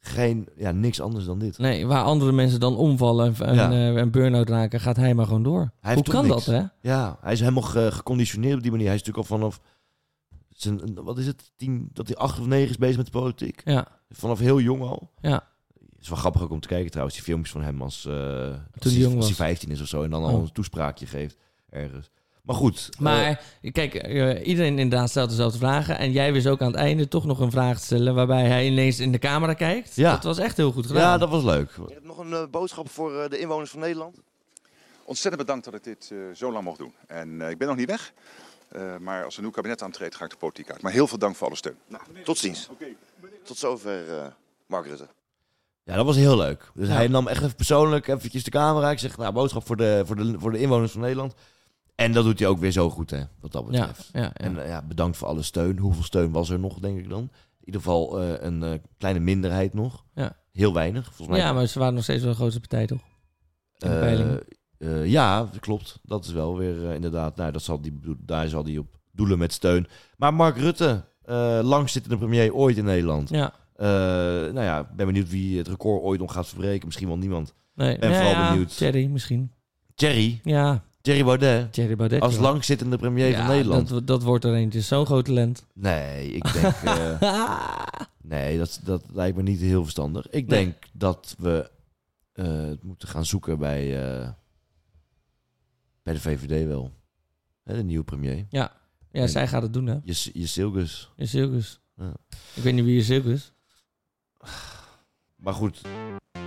Speaker 1: geen, ja, niks anders dan dit.
Speaker 2: Nee, waar andere mensen dan omvallen en, en,
Speaker 1: Ja.
Speaker 2: eh, en burn-out raken, gaat hij maar gewoon door.
Speaker 1: heeft
Speaker 2: Hoe
Speaker 1: toch
Speaker 2: kan
Speaker 1: niks?
Speaker 2: dat, hè?
Speaker 1: Ja, hij is helemaal ge- geconditioneerd op die manier. Hij is natuurlijk al vanaf, zijn, wat is het, tien, dat hij acht of negen is bezig met politiek.
Speaker 2: Ja.
Speaker 1: Vanaf heel jong al.
Speaker 2: Ja.
Speaker 1: Het is wel grappig ook om te kijken trouwens, die filmpjes van hem als, eh, als,
Speaker 2: hij
Speaker 1: hij,
Speaker 2: jong
Speaker 1: als hij
Speaker 2: was.
Speaker 1: 15 is of zo. En dan al
Speaker 2: Oh.
Speaker 1: een toespraakje geeft ergens. Maar goed. eh,
Speaker 2: Maar kijk, eh, iedereen inderdaad stelt dezelfde vragen. En jij wist ook aan het einde toch nog een vraag te stellen waarbij hij ineens in de camera kijkt.
Speaker 1: Ja.
Speaker 2: Dat was echt heel goed gedaan.
Speaker 1: ja, dat was leuk.
Speaker 3: Je hebt nog een eh, boodschap voor eh, de inwoners van Nederland?
Speaker 4: Ontzettend bedankt dat ik dit eh, zo lang mocht doen. En eh, ik ben nog niet weg. eh, maar als er een nieuw kabinet aantreedt, ga ik de politiek uit. Maar heel veel dank voor alle steun.
Speaker 3: Tot ziens. Tot zover, eh, Mark Rutte.
Speaker 1: Ja, dat was heel leuk. Dus
Speaker 2: Ja.
Speaker 1: hij nam echt even persoonlijk eventjes de camera. Ik zeg, nou, boodschap voor de, voor, de, voor de inwoners van Nederland. En dat doet hij ook weer zo goed, hè, wat dat
Speaker 2: ja,
Speaker 1: betreft.
Speaker 2: ja, ja.
Speaker 1: En eh, ja, bedankt voor alle steun. Hoeveel steun was er nog, denk ik dan? In ieder geval eh, een eh, kleine minderheid nog.
Speaker 2: Ja.
Speaker 1: Heel weinig, volgens mij.
Speaker 2: Ja, maar ze waren nog steeds wel de grootste partij, toch? in de
Speaker 1: Eh,
Speaker 2: peilingen.
Speaker 1: eh, ja, klopt. Dat is wel weer eh, inderdaad. Nou, dat zal die, bedo- daar zal hij op doelen met steun. Maar Mark Rutte, eh langzittende premier ooit in Nederland.
Speaker 2: Ja.
Speaker 1: Eh, nou ja, ik ben benieuwd wie het record ooit nog gaat verbreken. Misschien wel niemand.
Speaker 2: Nee.
Speaker 1: ben
Speaker 2: Ja,
Speaker 1: vooral
Speaker 2: ja,
Speaker 1: benieuwd.
Speaker 2: Thierry misschien.
Speaker 1: Thierry,
Speaker 2: Ja,
Speaker 1: Thierry Baudet.
Speaker 2: Thierry Baudet.
Speaker 1: Als
Speaker 2: joh.
Speaker 1: langzittende premier
Speaker 2: Ja,
Speaker 1: van Nederland.
Speaker 2: Dat, dat wordt er eentje. Zo'n groot talent.
Speaker 1: Nee, ik denk... eh, nee, dat, dat lijkt me niet heel verstandig. Ik
Speaker 2: Nee.
Speaker 1: denk dat we eh, het moeten gaan zoeken bij, eh, bij de VVD wel. Hè, de nieuwe premier.
Speaker 2: Ja, zij gaat het doen, hè?
Speaker 1: Je, je Silgus.
Speaker 2: In circus.
Speaker 1: Ja.
Speaker 2: Ik weet niet wie je circus.
Speaker 1: Maar goed,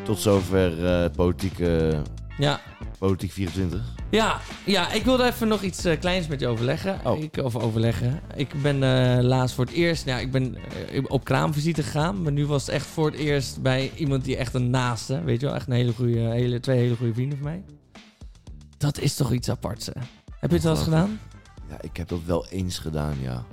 Speaker 1: tot zover eh politieke,
Speaker 2: Ja.
Speaker 1: politiek 24.
Speaker 2: Ja, ja, ik wilde even nog iets eh, kleins met je overleggen.
Speaker 1: Oh.
Speaker 2: Ik, of overleggen. Ik ben eh, laatst voor het eerst... Nou, ik ben eh, op kraamvisite gegaan. Maar nu was het echt voor het eerst bij iemand die echt een naaste... Weet je wel, echt een hele goede... Hele, twee hele goede vrienden van mij. Dat is toch iets aparts, hè? Heb je het wel eens gedaan?
Speaker 1: Ja, ik heb dat wel eens gedaan, ja.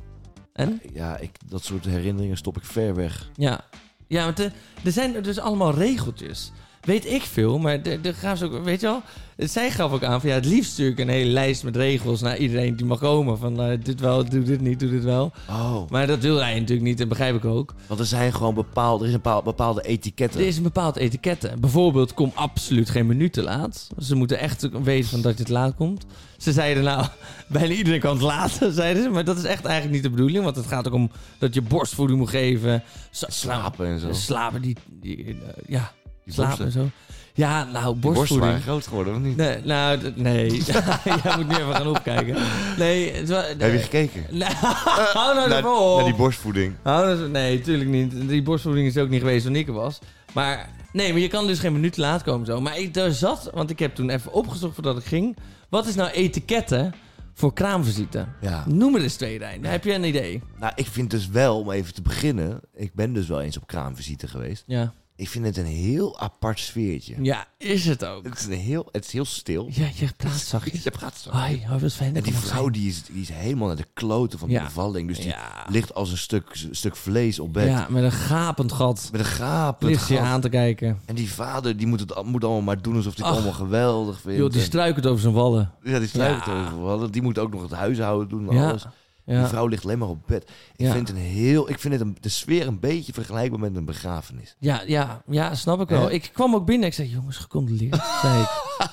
Speaker 2: En?
Speaker 1: Ja, ik, dat soort herinneringen stop ik ver weg.
Speaker 2: Ja. Ja, want eh, er zijn dus allemaal regeltjes. Weet ik veel, maar de, de gaven ze ook... Weet je wel? Zij gaf ook aan van... Ja, het liefst stuur ik een hele lijst met regels naar iedereen die mag komen. Van eh, dit wel, doe dit niet, doe dit wel.
Speaker 1: Oh,
Speaker 2: Maar dat wil hij natuurlijk niet, en begrijp ik ook.
Speaker 1: want er zijn gewoon bepaalde, er is een bepaal- bepaalde etiketten.
Speaker 2: Er is een bepaald etiket. Bijvoorbeeld, kom absoluut geen minuut te laat. Ze moeten echt weten van dat je te laat komt. Ze zeiden nou, bijna iedereen kan het laten, zeiden ze. Maar dat is echt eigenlijk niet de bedoeling. Want het gaat ook om dat je borstvoeding moet geven. Sa-
Speaker 1: Slapen en zo.
Speaker 2: nou, Slapen, die... die, eh, ja,
Speaker 1: Die
Speaker 2: slapen en
Speaker 1: borsten.
Speaker 2: zo. Ja, nou,
Speaker 1: Die borsten
Speaker 2: borstvoeding.
Speaker 1: waren groot geworden, of niet?
Speaker 2: Nee, nou, d- nee. Jij moet nu even gaan opkijken. Nee, het wa-
Speaker 1: Heb je gekeken?
Speaker 2: Nee, hou nou
Speaker 1: naar,
Speaker 2: even op.
Speaker 1: naar die borstvoeding.
Speaker 2: Oh, dat is- nee, tuurlijk niet. Die borstvoeding is ook niet geweest toen ik er was. Maar nee, maar je kan dus geen minuut te laat komen zo. Maar ik, daar zat, want ik heb toen even opgezocht voordat ik ging. Wat is nou etiketten voor kraamvisite?
Speaker 1: Ja.
Speaker 2: Noem er eens twee, Rijn. Heb je een idee?
Speaker 1: Nou, ik vind dus wel, om even te beginnen... Ik ben dus wel eens op kraamvisite geweest.
Speaker 2: Ja.
Speaker 1: Ik vind het een heel apart sfeertje.
Speaker 2: Ja, is het ook.
Speaker 1: Het is, een heel, het is heel stil.
Speaker 2: Ja, je praat zachtjes.
Speaker 1: Je praat zo.
Speaker 2: Hoi, hoi, wat fijn.
Speaker 1: En
Speaker 2: dat
Speaker 1: die
Speaker 2: je mag
Speaker 1: vrouw
Speaker 2: zijn.
Speaker 1: die is, die is helemaal naar de kloten van de
Speaker 2: Ja.
Speaker 1: bevalling. Dus die
Speaker 2: Ja.
Speaker 1: ligt als een stuk, stuk vlees op bed.
Speaker 2: Ja, met een gapend gat.
Speaker 1: Met een gapend
Speaker 2: Ligt je
Speaker 1: gat.
Speaker 2: aan te kijken.
Speaker 1: En die vader die moet het al- moet allemaal maar doen alsof hij het
Speaker 2: Ach.
Speaker 1: allemaal geweldig vindt.
Speaker 2: Joh, die
Speaker 1: En-
Speaker 2: struikelt over zijn wallen.
Speaker 1: ja, die struikelt
Speaker 2: Ja.
Speaker 1: overal. Die moet ook nog het huishouden doen en
Speaker 2: Ja.
Speaker 1: alles. Die
Speaker 2: Ja.
Speaker 1: vrouw ligt alleen maar op bed. Ik
Speaker 2: Ja.
Speaker 1: vind, het een heel, ik vind het een, de sfeer een beetje vergelijkbaar met een begrafenis.
Speaker 2: Ja, ja, ja, snap ik wel.
Speaker 1: Hè?
Speaker 2: Ik kwam ook binnen. Ik zei, jongens, gecondoleerd. zei ik.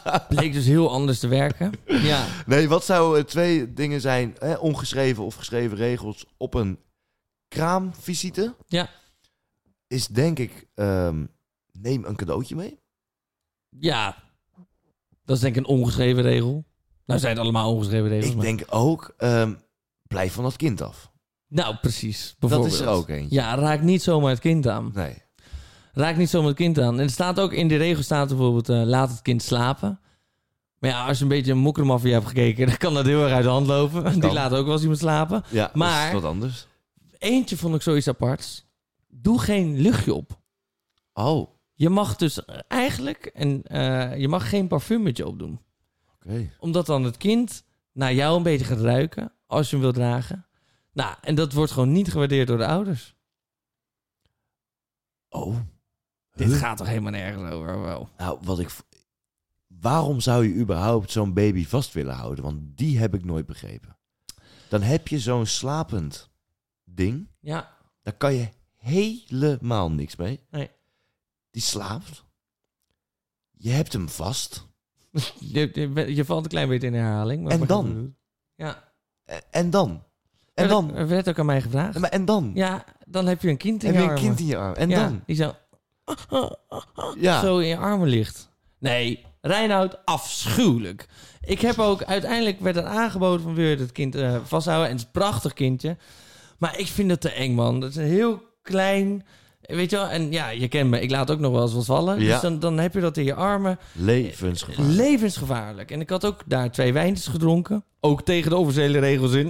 Speaker 2: Bleek dus heel anders te werken. Ja,
Speaker 1: Nee, wat zouden twee dingen zijn, hè, ongeschreven of geschreven regels op een kraamvisite?
Speaker 2: Ja.
Speaker 1: Is denk ik, ehm, neem een cadeautje mee.
Speaker 2: ja. Dat is denk ik een ongeschreven regel. Nou zijn het allemaal ongeschreven regels.
Speaker 1: Ik
Speaker 2: maar-
Speaker 1: denk ook, ehm, blijf van dat kind af.
Speaker 2: Nou, precies.
Speaker 1: Dat
Speaker 2: bijvoorbeeld.
Speaker 1: is er ook eentje.
Speaker 2: Ja, raak niet zomaar het kind aan.
Speaker 1: Nee.
Speaker 2: Raak niet zomaar het kind aan. En er staat ook in de regel staat bijvoorbeeld, eh, laat het kind slapen. Maar ja, als je een beetje een mokkermafia hebt gekeken, dan kan dat heel erg uit de hand lopen. Die
Speaker 1: kan.
Speaker 2: laat ook wel eens iemand slapen.
Speaker 1: Ja, maar,
Speaker 2: Maar-
Speaker 1: dat is wat anders.
Speaker 2: Eentje vond ik zoiets aparts. Doe geen luchtje op.
Speaker 1: Oh, oké.
Speaker 2: Je mag dus eigenlijk en, eh, je mag geen parfumetje opdoen. Omdat dan het kind naar jou een beetje gaat ruiken als je hem wilt dragen. Nou, en dat wordt gewoon niet gewaardeerd door de ouders.
Speaker 1: Oh.
Speaker 2: Dit gaat toch helemaal nergens over? Wel.
Speaker 1: Nou, wat ik. v- Waarom zou je überhaupt zo'n baby vast willen houden? Want die heb ik nooit begrepen. Dan heb je zo'n slapend ding.
Speaker 2: Ja,
Speaker 1: Daar kan je helemaal niks mee.
Speaker 2: Nee.
Speaker 1: Die slaapt. Je hebt hem vast.
Speaker 2: je, je, je valt een klein beetje in herhaling. Maar
Speaker 1: En
Speaker 2: maar-
Speaker 1: dan?
Speaker 2: Ja.
Speaker 1: E- En dan? En
Speaker 2: Er-
Speaker 1: dan?
Speaker 2: Er werd ook aan mij gevraagd.
Speaker 1: Ja, maar En dan?
Speaker 2: Ja, dan heb je een kind in
Speaker 1: Heb
Speaker 2: je
Speaker 1: je een
Speaker 2: armen.
Speaker 1: kind in je arm? En
Speaker 2: Ja,
Speaker 1: dan?
Speaker 2: Die zo,
Speaker 1: Ja.
Speaker 2: zo in je armen ligt. Nee, Reinoud, afschuwelijk. Ik heb ook uiteindelijk werd er aangeboden van wil je het kind eh, vasthouden. En het is een prachtig kindje. Maar ik vind het te eng, man. Dat is een heel klein. Weet je wel, en ja, je kent me. Ik laat ook nog wel eens wat vallen.
Speaker 1: Ja.
Speaker 2: Dus dan, dan heb je dat in je armen.
Speaker 1: Levensgevaar.
Speaker 2: Levensgevaarlijk. En ik had ook daar twee wijntjes gedronken. Ook tegen de officiële regels in.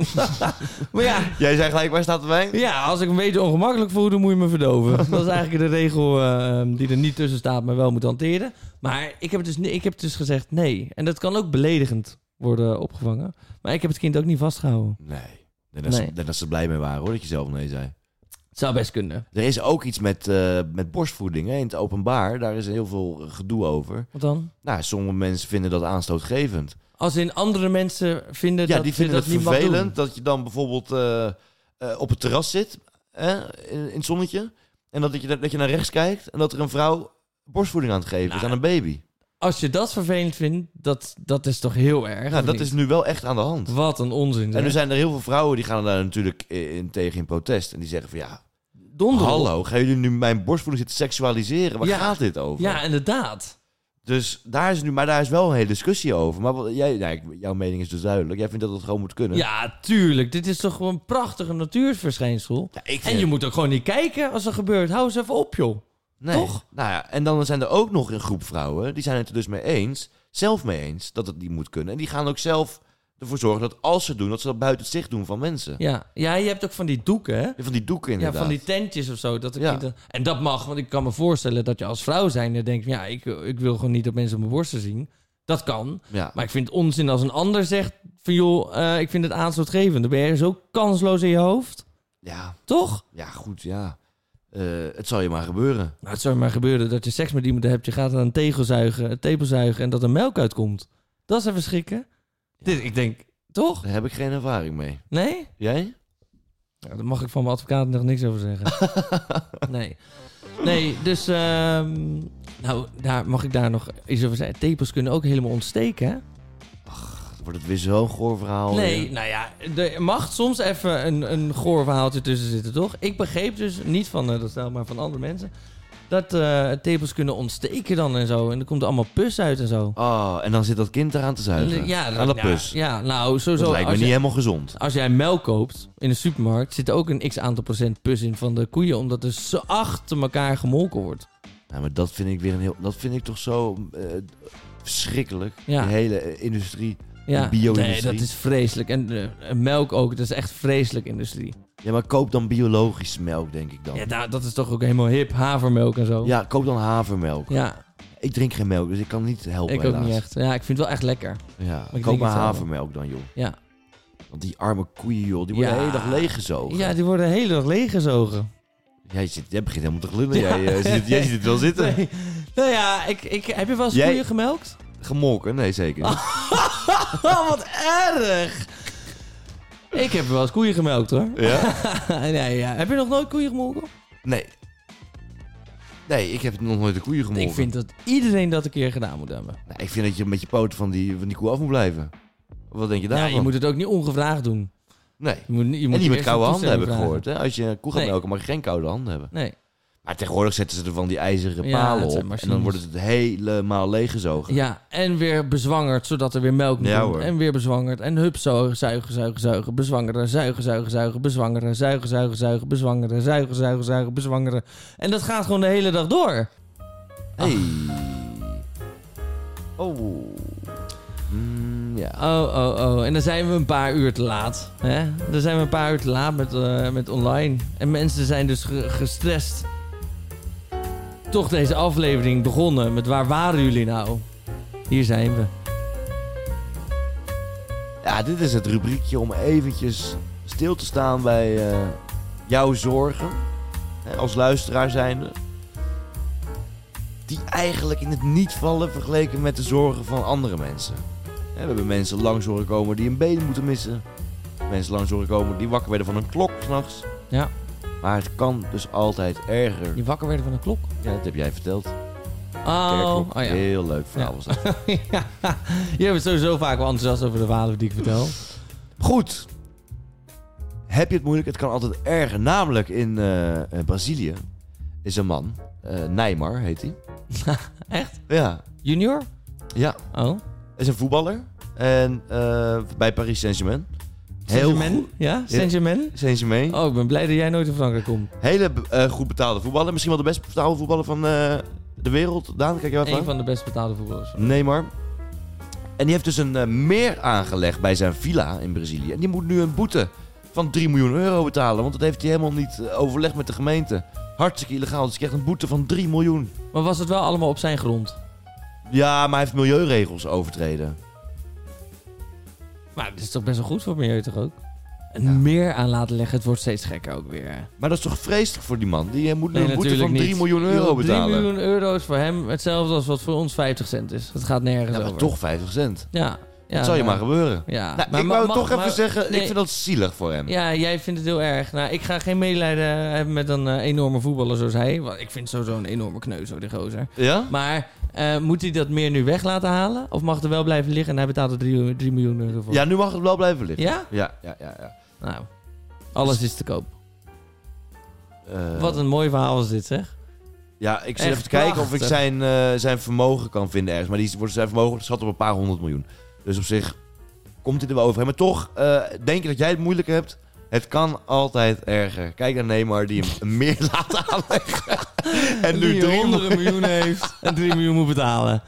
Speaker 2: maar ja,
Speaker 1: Jij zei gelijk, waar staat de wijn?
Speaker 2: ja, als ik een beetje ongemakkelijk voel, dan moet je me verdoven. Dat is eigenlijk de regel eh, die er niet tussen staat, maar wel moet hanteren. Maar ik heb, dus, ni- ik heb dus gezegd nee. En dat kan ook beledigend worden opgevangen. Maar ik heb het kind ook niet vastgehouden.
Speaker 1: Nee. Ik denk dat,
Speaker 2: Nee.
Speaker 1: Ze, ik denk dat ze blij mee waren hoor, dat je zelf nee zei.
Speaker 2: Het zou best kunnen.
Speaker 1: Er is ook iets met, eh, met borstvoeding hè, in het openbaar. Daar is heel veel gedoe over.
Speaker 2: Wat dan?
Speaker 1: Nou, sommige mensen vinden dat aanstootgevend.
Speaker 2: Als in andere mensen vinden
Speaker 1: ja,
Speaker 2: dat
Speaker 1: die
Speaker 2: je
Speaker 1: vinden
Speaker 2: dat
Speaker 1: het
Speaker 2: niet mag
Speaker 1: vervelend
Speaker 2: doen.
Speaker 1: dat je dan bijvoorbeeld eh, eh, op het terras zit hè, in, in het zonnetje. En dat, dat, je, dat je naar rechts kijkt en dat er een vrouw borstvoeding aan het geven is
Speaker 2: Nou,
Speaker 1: aan een baby.
Speaker 2: Als je dat vervelend vindt, dat, dat is toch heel erg?
Speaker 1: Nou,
Speaker 2: of
Speaker 1: dat
Speaker 2: niet?
Speaker 1: is nu wel echt aan de hand.
Speaker 2: Wat een onzin.
Speaker 1: En
Speaker 2: zeg.
Speaker 1: er zijn er heel veel vrouwen die gaan daar natuurlijk in, tegen in protest. En die zeggen van ja,
Speaker 2: Donder op.
Speaker 1: hallo, gaan jullie nu mijn borstvoeding zitten seksualiseren? Waar
Speaker 2: Ja.
Speaker 1: gaat dit over?
Speaker 2: Ja, inderdaad.
Speaker 1: Dus daar is nu, maar daar is wel een hele discussie over. Maar wat, jij, nou, ik- jouw mening is dus duidelijk. Jij vindt dat het gewoon moet kunnen.
Speaker 2: Ja, tuurlijk. Dit is toch gewoon een prachtige natuurverschijnsel.
Speaker 1: Ja, ik vind
Speaker 2: En je moet ook gewoon niet kijken als er gebeurt. Hou eens even op, joh.
Speaker 1: Nee.
Speaker 2: Toch?
Speaker 1: Nou ja, en dan zijn er ook nog een groep vrouwen, die zijn het er dus mee eens, zelf mee eens, dat het niet moet kunnen. En die gaan ook zelf ervoor zorgen dat als ze het doen, dat ze dat buiten het zicht doen van mensen.
Speaker 2: Ja. ja, je hebt ook van die doeken, hè?
Speaker 1: Van die doeken
Speaker 2: Ja,
Speaker 1: inderdaad.
Speaker 2: van die tentjes of zo. Dat de
Speaker 1: Ja.
Speaker 2: kinderen- en dat mag, want ik kan me voorstellen dat je als vrouw zijnde denkt... ja, ik, ik wil gewoon niet dat mensen mijn borsten zien. Dat kan.
Speaker 1: Ja.
Speaker 2: Maar ik vind het onzin als een ander zegt van... joh, eh, ik vind het aanstootgevend. Dan ben je zo kansloos in je hoofd.
Speaker 1: ja,
Speaker 2: Toch?
Speaker 1: ja, goed, ja. Eh, het zal je maar gebeuren.
Speaker 2: Nou, het zou maar gebeuren dat je seks met iemand hebt. Je gaat aan een tegel zuigen, een tepel zuigen en dat er melk uitkomt. Dat is even schrikken. Dit, ik denk, toch?
Speaker 1: Daar heb ik geen ervaring mee.
Speaker 2: Nee?
Speaker 1: Jij?
Speaker 2: Ja, daar mag ik van mijn advocaat nog niks over zeggen. nee. Nee, dus... ehm, nou, daar mag ik daar nog iets over zeggen. Tepels kunnen ook helemaal ontsteken, hè?
Speaker 1: Wordt het weer zo'n goor verhaal?
Speaker 2: Nee,
Speaker 1: weer?
Speaker 2: nou ja, er mag soms even een, een goor verhaaltje tussen zitten, toch? Ik begreep dus, niet van eh, dat stel, maar van andere mensen... dat eh, tepels kunnen ontsteken dan en zo. En er komt allemaal pus uit en zo.
Speaker 1: Oh, en dan zit dat kind eraan te zuigen.
Speaker 2: dat-
Speaker 1: aan dat
Speaker 2: ja,
Speaker 1: pus.
Speaker 2: Ja, nou, sowieso.
Speaker 1: dat lijkt me
Speaker 2: als
Speaker 1: niet
Speaker 2: je-
Speaker 1: helemaal gezond.
Speaker 2: als jij melk koopt in de supermarkt, zit er ook een x aantal procent pus in van de koeien, omdat er zo achter elkaar gemolken wordt.
Speaker 1: Nou, maar dat vind ik weer een heel. Dat vind ik toch zo eh, verschrikkelijk.
Speaker 2: Ja.
Speaker 1: Die hele eh, industrie.
Speaker 2: Ja,
Speaker 1: De bio-industrie.
Speaker 2: nee, dat is vreselijk. En eh, en melk ook, dat is echt vreselijk industrie.
Speaker 1: Ja, maar koop dan biologische melk, denk ik dan.
Speaker 2: Ja,
Speaker 1: Ja,
Speaker 2: nou, dat is toch ook helemaal hip, havermelk en zo.
Speaker 1: koop dan havermelk.
Speaker 2: Ja,
Speaker 1: Ik drink geen melk, dus ik kan niet helpen.
Speaker 2: ik ook
Speaker 1: helaas.
Speaker 2: niet echt. Ja, ik vind het wel echt lekker.
Speaker 1: Ja,
Speaker 2: ik
Speaker 1: koop
Speaker 2: drink
Speaker 1: maar
Speaker 2: het wel.
Speaker 1: havermelk dan, joh.
Speaker 2: Ja,
Speaker 1: Want die arme koeien, joh, die worden
Speaker 2: Ja.
Speaker 1: de hele dag leeggezogen.
Speaker 2: ja die worden de hele dag leeggezogen.
Speaker 1: Jij, zit, jij begint helemaal te glunderen.
Speaker 2: Ja.
Speaker 1: Jij, eh, ziet het- jij ziet het wel zitten.
Speaker 2: Nee. Nou ja, ik, ik, heb je wel eens
Speaker 1: Jij-
Speaker 2: koeien gemelkt?
Speaker 1: Gemolken? Nee, zeker niet.
Speaker 2: Oh, wat erg! Ik heb wel eens koeien gemelkt hoor.
Speaker 1: Ja?
Speaker 2: nee, ja. Heb je nog nooit koeien gemolken?
Speaker 1: Nee. Nee, ik heb nog nooit de koeien gemolken.
Speaker 2: Ik vind dat iedereen dat een keer gedaan moet hebben.
Speaker 1: Nou, ik vind dat je met je poot van die, van die koe af moet blijven. Wat denk je
Speaker 2: Ja,
Speaker 1: daarvan?
Speaker 2: je moet het ook niet ongevraagd doen.
Speaker 1: Nee.
Speaker 2: Je moet, niet- je moet
Speaker 1: en niet met
Speaker 2: eerst
Speaker 1: koude
Speaker 2: een
Speaker 1: handen heb ik
Speaker 2: toestemming
Speaker 1: gehoord. Hè? Als je een koe gaat
Speaker 2: Nee.
Speaker 1: melken, mag je geen koude handen hebben.
Speaker 2: vragen.
Speaker 1: Maar tegenwoordig zetten ze er van die ijzeren
Speaker 2: Ja,
Speaker 1: palen
Speaker 2: dat
Speaker 1: op.
Speaker 2: zijn
Speaker 1: En
Speaker 2: machines.
Speaker 1: dan wordt het helemaal leeggezogen.
Speaker 2: Nee. Ja, en weer bezwangerd, zodat er weer melk moet
Speaker 1: Ja,
Speaker 2: doen.
Speaker 1: hoor.
Speaker 2: En weer bezwangerd. En hup, zo, zuigen, zuigen, zuigen. Bezwangeren, zuigen, zuigen, zuigen. Bezwangeren, zuigen, zuigen, zuigen. Bezwangeren, zuigen, zuigen, zuigen. Bezwangeren. En dat gaat gewoon de hele dag door.
Speaker 1: Hey. Oh. Mm, ja.
Speaker 2: Oh, oh, oh. En dan zijn we een paar uur te laat. Hè? Dan zijn we een paar uur te laat met, eh, met online. En mensen zijn dus ge- gestrest. Toch deze aflevering begonnen met waar waren jullie nou? Hier zijn we.
Speaker 1: ja, dit is het rubriekje om eventjes stil te staan bij eh, jouw zorgen. Hè, als luisteraar zijnde. Die eigenlijk in het niet vallen vergeleken met de zorgen van andere mensen. Hè, we hebben mensen langs horen komen die een been moeten missen. Mensen langs horen komen die wakker werden van een klok s'nachts.
Speaker 2: Ja.
Speaker 1: Maar het kan dus altijd erger.
Speaker 2: Die wakker werden van een klok.
Speaker 1: Ja, dat heb jij verteld.
Speaker 2: Oh,
Speaker 1: Kerkklok.
Speaker 2: oh ja.
Speaker 1: Heel leuk verhaal was dat.
Speaker 2: ja. Je bent sowieso vaak wel enthousiast over de verhalen die ik vertel.
Speaker 1: Goed. Heb je het moeilijk? Het kan altijd erger. Namelijk in eh, eh, Brazilië is een man, eh Neymar heet hij.
Speaker 2: Echt?
Speaker 1: Ja,
Speaker 2: Junior?
Speaker 1: ja.
Speaker 2: Oh.
Speaker 1: Is een voetballer en eh, bij Paris Saint-Germain. Heel
Speaker 2: Saint-Germain?
Speaker 1: goed-
Speaker 2: Ja? Saint-Germain?
Speaker 1: Saint-Germain.
Speaker 2: Oh, ik ben blij dat jij nooit in Frankrijk komt.
Speaker 1: Hele eh, goed betaalde voetballer. Misschien wel de best betaalde voetballer van eh, de wereld. Daan, kijk je wat
Speaker 2: Een
Speaker 1: aan?
Speaker 2: van de best betaalde voetballers.
Speaker 1: Neymar. En die heeft dus een eh, meer aangelegd bij zijn villa in Brazilië. En die moet nu een boete van 3 miljoen euro betalen. Want dat heeft hij helemaal niet eh, overlegd met de gemeente. Hartstikke illegaal. Dus hij krijgt een boete van 3 miljoen.
Speaker 2: Maar was het wel allemaal op zijn grond?
Speaker 1: Ja, maar hij heeft milieuregels overtreden.
Speaker 2: Maar het is toch best wel goed voor het milieu, toch ook? Een meer aan laten leggen, het wordt steeds gekker ook weer. hè?
Speaker 1: Maar dat is toch vreselijk voor die man? Die eh, moet nu
Speaker 2: Nee,
Speaker 1: een boete
Speaker 2: natuurlijk
Speaker 1: van 3
Speaker 2: niet.
Speaker 1: miljoen
Speaker 2: Joh,
Speaker 1: euro
Speaker 2: 3
Speaker 1: betalen.
Speaker 2: miljoen euro is voor hem hetzelfde als wat voor ons 50 cent is. Het gaat nergens
Speaker 1: Ja, maar
Speaker 2: over.
Speaker 1: toch 50 cent.
Speaker 2: Ja. ja
Speaker 1: dat zou je
Speaker 2: nou,
Speaker 1: maar gebeuren.
Speaker 2: Ja.
Speaker 1: Nou,
Speaker 2: Maar
Speaker 1: ik
Speaker 2: ma-
Speaker 1: wou
Speaker 2: mag-
Speaker 1: toch
Speaker 2: maar-
Speaker 1: even zeggen,
Speaker 2: nee.
Speaker 1: ik vind dat zielig voor hem.
Speaker 2: Ja, jij vindt het heel erg. Nou, ik ga geen medelijden hebben met een eh, enorme voetballer zoals hij. Want ik vind sowieso een enorme kneuzo, die gozer.
Speaker 1: Ja?
Speaker 2: Maar eh, moet hij dat meer nu weg laten halen? Of mag het er wel blijven liggen en hij betaalt er 3, miljoen euro voor?
Speaker 1: Ja, nu mag het wel blijven liggen.
Speaker 2: Ja?
Speaker 1: Ja, ja, ja. ja.
Speaker 2: Nou, alles is te koop.
Speaker 1: Eh,
Speaker 2: Wat een mooi verhaal is dit, zeg.
Speaker 1: Ja, ik zit
Speaker 2: Echt
Speaker 1: even te kijken of ik
Speaker 2: prachtig.
Speaker 1: zijn, eh, zijn vermogen kan vinden ergens. Maar die wordt zijn vermogen geschat op een paar honderd miljoen. Dus op zich komt hij er wel overheen. Maar toch, eh, denk je dat jij het moeilijk hebt? Het kan altijd erger. Kijk naar Neymar die hem meer laat aanleggen. En nu
Speaker 2: die
Speaker 1: drie
Speaker 2: honderden
Speaker 1: miljoen.
Speaker 2: miljoen heeft en 3 miljoen moet betalen.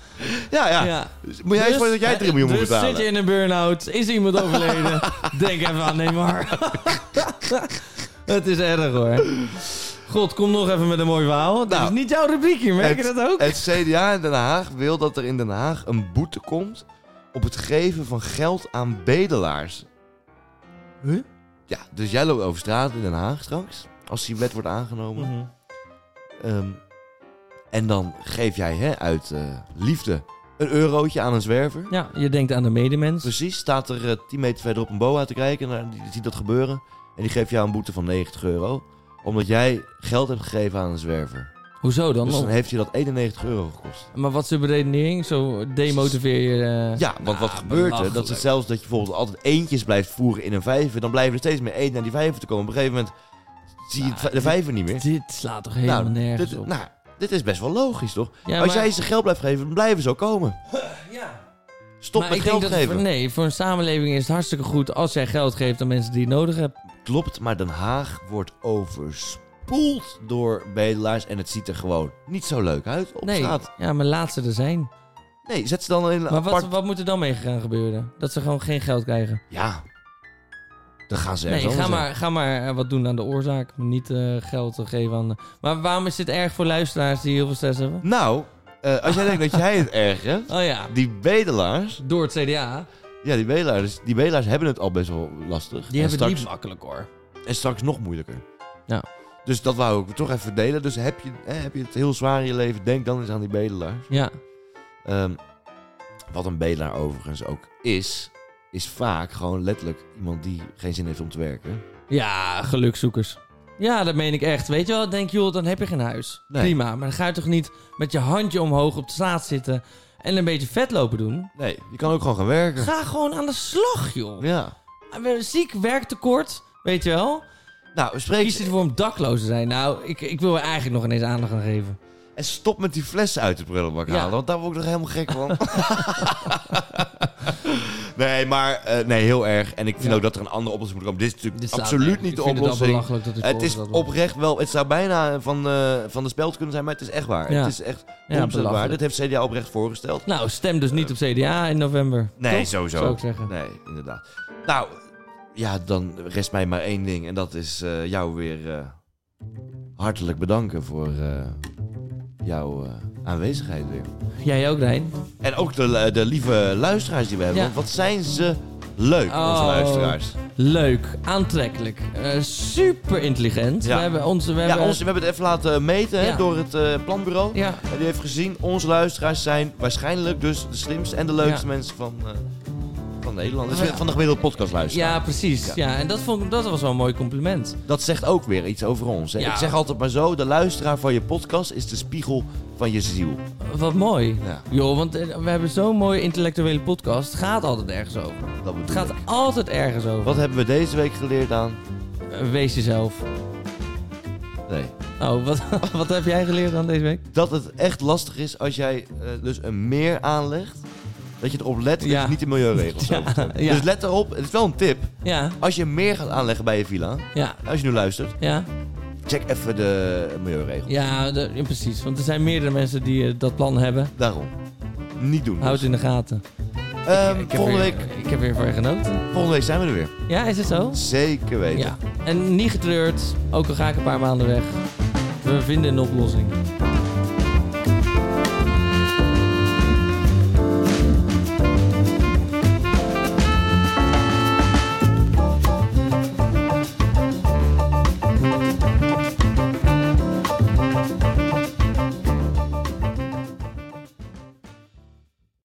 Speaker 1: Ja, ja.
Speaker 2: Ja.
Speaker 1: Moet jij eens
Speaker 2: Dus-
Speaker 1: voor dat jij 3 miljoen
Speaker 2: dus
Speaker 1: moet betalen?
Speaker 2: zit je in een burn-out, is iemand overleden, denk even aan Neymar. het is erg hoor. God, kom nog even met een mooi verhaal. Dat
Speaker 1: Nou,
Speaker 2: is niet jouw rubriek hier, merk je
Speaker 1: Het-
Speaker 2: dat ook?
Speaker 1: Het CDA in Den Haag wil dat er in Den Haag een boete komt op het geven van geld aan bedelaars.
Speaker 2: Huh?
Speaker 1: Ja, dus jij loopt over straat in Den Haag straks, als die wet wordt aangenomen.
Speaker 2: Mhm.
Speaker 1: Ehm, en dan geef jij hè, uit eh, liefde een eurotje aan een zwerver.
Speaker 2: Ja, je denkt aan de medemens.
Speaker 1: Precies, staat er eh, 10 meter verderop een boa te kijken en die ziet dat gebeuren. En die geeft jou een boete van 90 euro, omdat jij geld hebt gegeven aan een zwerver.
Speaker 2: Hoezo dan?
Speaker 1: Dus dan heeft je dat 91 euro gekost.
Speaker 2: Maar wat is de beredenering? Zo demotiveer je... eh,
Speaker 1: Ja, want wat
Speaker 2: Ah,
Speaker 1: gebeurt er? Dat ze
Speaker 2: belachelijk.
Speaker 1: zelfs dat je bijvoorbeeld altijd eentjes blijft voeren in een vijver, dan blijven er steeds meer één naar die vijver te komen. Op een gegeven moment zie je
Speaker 2: Nou,
Speaker 1: het- de vijver niet meer.
Speaker 2: Dit slaat toch helemaal nergens
Speaker 1: dit,
Speaker 2: op?
Speaker 1: nou, dit is best wel logisch, toch?
Speaker 2: Ja,
Speaker 1: Als
Speaker 2: maar-
Speaker 1: jij ze geld blijft geven, dan blijven ze ook komen. Stop
Speaker 2: Maar
Speaker 1: met
Speaker 2: ik denk
Speaker 1: geld
Speaker 2: dat
Speaker 1: geven.
Speaker 2: voor- nee, voor een samenleving is het hartstikke goed als jij geld geeft aan mensen die het nodig hebben.
Speaker 1: Klopt, maar Den Haag wordt overspoeld door bedelaars en het ziet er gewoon niet zo leuk uit op
Speaker 2: Nee,
Speaker 1: straat.
Speaker 2: ja, maar laat ze er zijn.
Speaker 1: Nee, zet ze dan in een
Speaker 2: Maar
Speaker 1: apart...
Speaker 2: wat, wat moet er dan mee gaan gebeuren? Dat ze gewoon geen geld krijgen.
Speaker 1: Ja, dan gaan ze ergens
Speaker 2: Nee, ga
Speaker 1: anders
Speaker 2: maar, ga maar eh, wat doen aan de oorzaak. Maar Niet eh, geld te geven aan. de- Maar waarom is dit erg voor luisteraars die heel veel stress hebben?
Speaker 1: heen. Nou, eh, als jij denkt dat jij het erg hebt,
Speaker 2: Oh ja,
Speaker 1: die bedelaars...
Speaker 2: door het CDA.
Speaker 1: Ja, die bedelaars, die bedelaars hebben het al best wel lastig.
Speaker 2: Die
Speaker 1: en,
Speaker 2: hebben het
Speaker 1: straks,
Speaker 2: niet makkelijk hoor.
Speaker 1: en straks nog moeilijker.
Speaker 2: Ja.
Speaker 1: Dus dat wou ik toch even delen. Dus heb je, hè, heb je het heel zwaar in je leven, denk dan eens aan die bedelaars.
Speaker 2: Ja,
Speaker 1: Ehm, wat een bedelaar overigens ook is, is vaak gewoon letterlijk iemand die geen zin heeft om te werken.
Speaker 2: ja gelukzoekers. Ja, dat meen ik echt. Weet je wel, denk joh, dan heb je geen huis.
Speaker 1: Nee.
Speaker 2: Prima, maar dan ga je toch niet met je handje omhoog op de straat zitten en een beetje vet lopen doen?
Speaker 1: Nee, je kan ook gewoon gaan werken.
Speaker 2: Ga gewoon aan de slag, joh.
Speaker 1: Ja.
Speaker 2: We hebben ziek werktekort, weet je wel.
Speaker 1: Nou,
Speaker 2: Kies
Speaker 1: spreek
Speaker 2: ervoor om dakloos te zijn. Nou, ik, ik wil er eigenlijk nog ineens aandacht aan geven.
Speaker 1: en stop met die flessen uit de prullenbak
Speaker 2: Ja.
Speaker 1: halen, want daar word ik nog helemaal gek van. nee, maar eh, nee, heel erg. En ik vind
Speaker 2: Ja.
Speaker 1: ook dat er een andere oplossing moet komen. Dit is natuurlijk
Speaker 2: Dit staat
Speaker 1: absoluut
Speaker 2: nergens.
Speaker 1: niet
Speaker 2: Ik
Speaker 1: de
Speaker 2: vind het al
Speaker 1: oplossing.
Speaker 2: belachelijk dat dit
Speaker 1: Het is
Speaker 2: voorgesteld wordt.
Speaker 1: oprecht wel, het zou bijna van, eh, van de speld kunnen zijn, maar het is echt waar.
Speaker 2: Ja.
Speaker 1: Het is echt
Speaker 2: Ja,
Speaker 1: ontzettend waar. Dit
Speaker 2: belachelijk.
Speaker 1: heeft CDA oprecht voorgesteld.
Speaker 2: Nou, stem dus niet op CDA in november.
Speaker 1: Nee,
Speaker 2: Nou, Toch?
Speaker 1: sowieso.
Speaker 2: Zou ik zeggen.
Speaker 1: Nee, inderdaad. Nou, ja, dan rest mij maar één ding. En dat is eh, jou weer eh, hartelijk bedanken voor eh, jouw eh, aanwezigheid weer.
Speaker 2: Jij ook, Rijn.
Speaker 1: En ook de, lu- de lieve luisteraars die we hebben.
Speaker 2: Ja.
Speaker 1: Want wat zijn ze leuk, onze
Speaker 2: Oh.
Speaker 1: luisteraars.
Speaker 2: Leuk, aantrekkelijk, eh, super intelligent.
Speaker 1: Ja.
Speaker 2: We hebben onze... We
Speaker 1: Ja,
Speaker 2: hebben,
Speaker 1: ons, we hebben het even laten meten hè,
Speaker 2: Ja.
Speaker 1: door het eh, planbureau.
Speaker 2: Ja.
Speaker 1: En die heeft gezien, onze luisteraars zijn waarschijnlijk dus de slimste en de leukste
Speaker 2: Ja.
Speaker 1: mensen van, eh, van Nederland. Dus
Speaker 2: Oh, ja.
Speaker 1: Van de gemiddelde podcastluisteraar.
Speaker 2: Ja, precies. Ja. en dat, vond, ik- dat was wel een mooi compliment.
Speaker 1: Dat zegt ook weer iets over ons. Hè?
Speaker 2: Ja.
Speaker 1: Ik zeg altijd maar zo, de luisteraar van je podcast is de spiegel van je ziel.
Speaker 2: Wat mooi.
Speaker 1: Ja.
Speaker 2: Joh, want eh, we hebben zo'n mooie intellectuele podcast. Het gaat altijd ergens over.
Speaker 1: Dat bedoel
Speaker 2: Het gaat
Speaker 1: ik.
Speaker 2: altijd ergens over.
Speaker 1: Wat hebben we deze week geleerd aan?
Speaker 2: Eh, Wees jezelf.
Speaker 1: Nee.
Speaker 2: Oh, wat, wat heb jij geleerd dan deze week?
Speaker 1: Dat het echt lastig is als jij eh, dus een meer aanlegt, dat je erop let dat
Speaker 2: Ja.
Speaker 1: je niet de milieuregels
Speaker 2: Ja,
Speaker 1: overtreedt.
Speaker 2: ja.
Speaker 1: Dus let erop, het is wel een tip.
Speaker 2: Ja,
Speaker 1: Als je een meer gaat aanleggen bij je villa,
Speaker 2: ja,
Speaker 1: als je nu luistert,
Speaker 2: ja.
Speaker 1: check even de milieuregels.
Speaker 2: Ja, de- ja, precies. Want er zijn meerdere mensen die eh, dat plan hebben.
Speaker 1: Daarom. Niet doen. dus.
Speaker 2: Houd het in de gaten.
Speaker 1: Ehm,
Speaker 2: Ik heb
Speaker 1: volgende,
Speaker 2: weer-
Speaker 1: week,
Speaker 2: Ik heb weer voor je genoten.
Speaker 1: volgende week zijn we er weer.
Speaker 2: Ja, is het zo?
Speaker 1: Zeker weten.
Speaker 2: Ja. En niet getreurd. Ook al ga ik een paar maanden weg. We vinden een oplossing.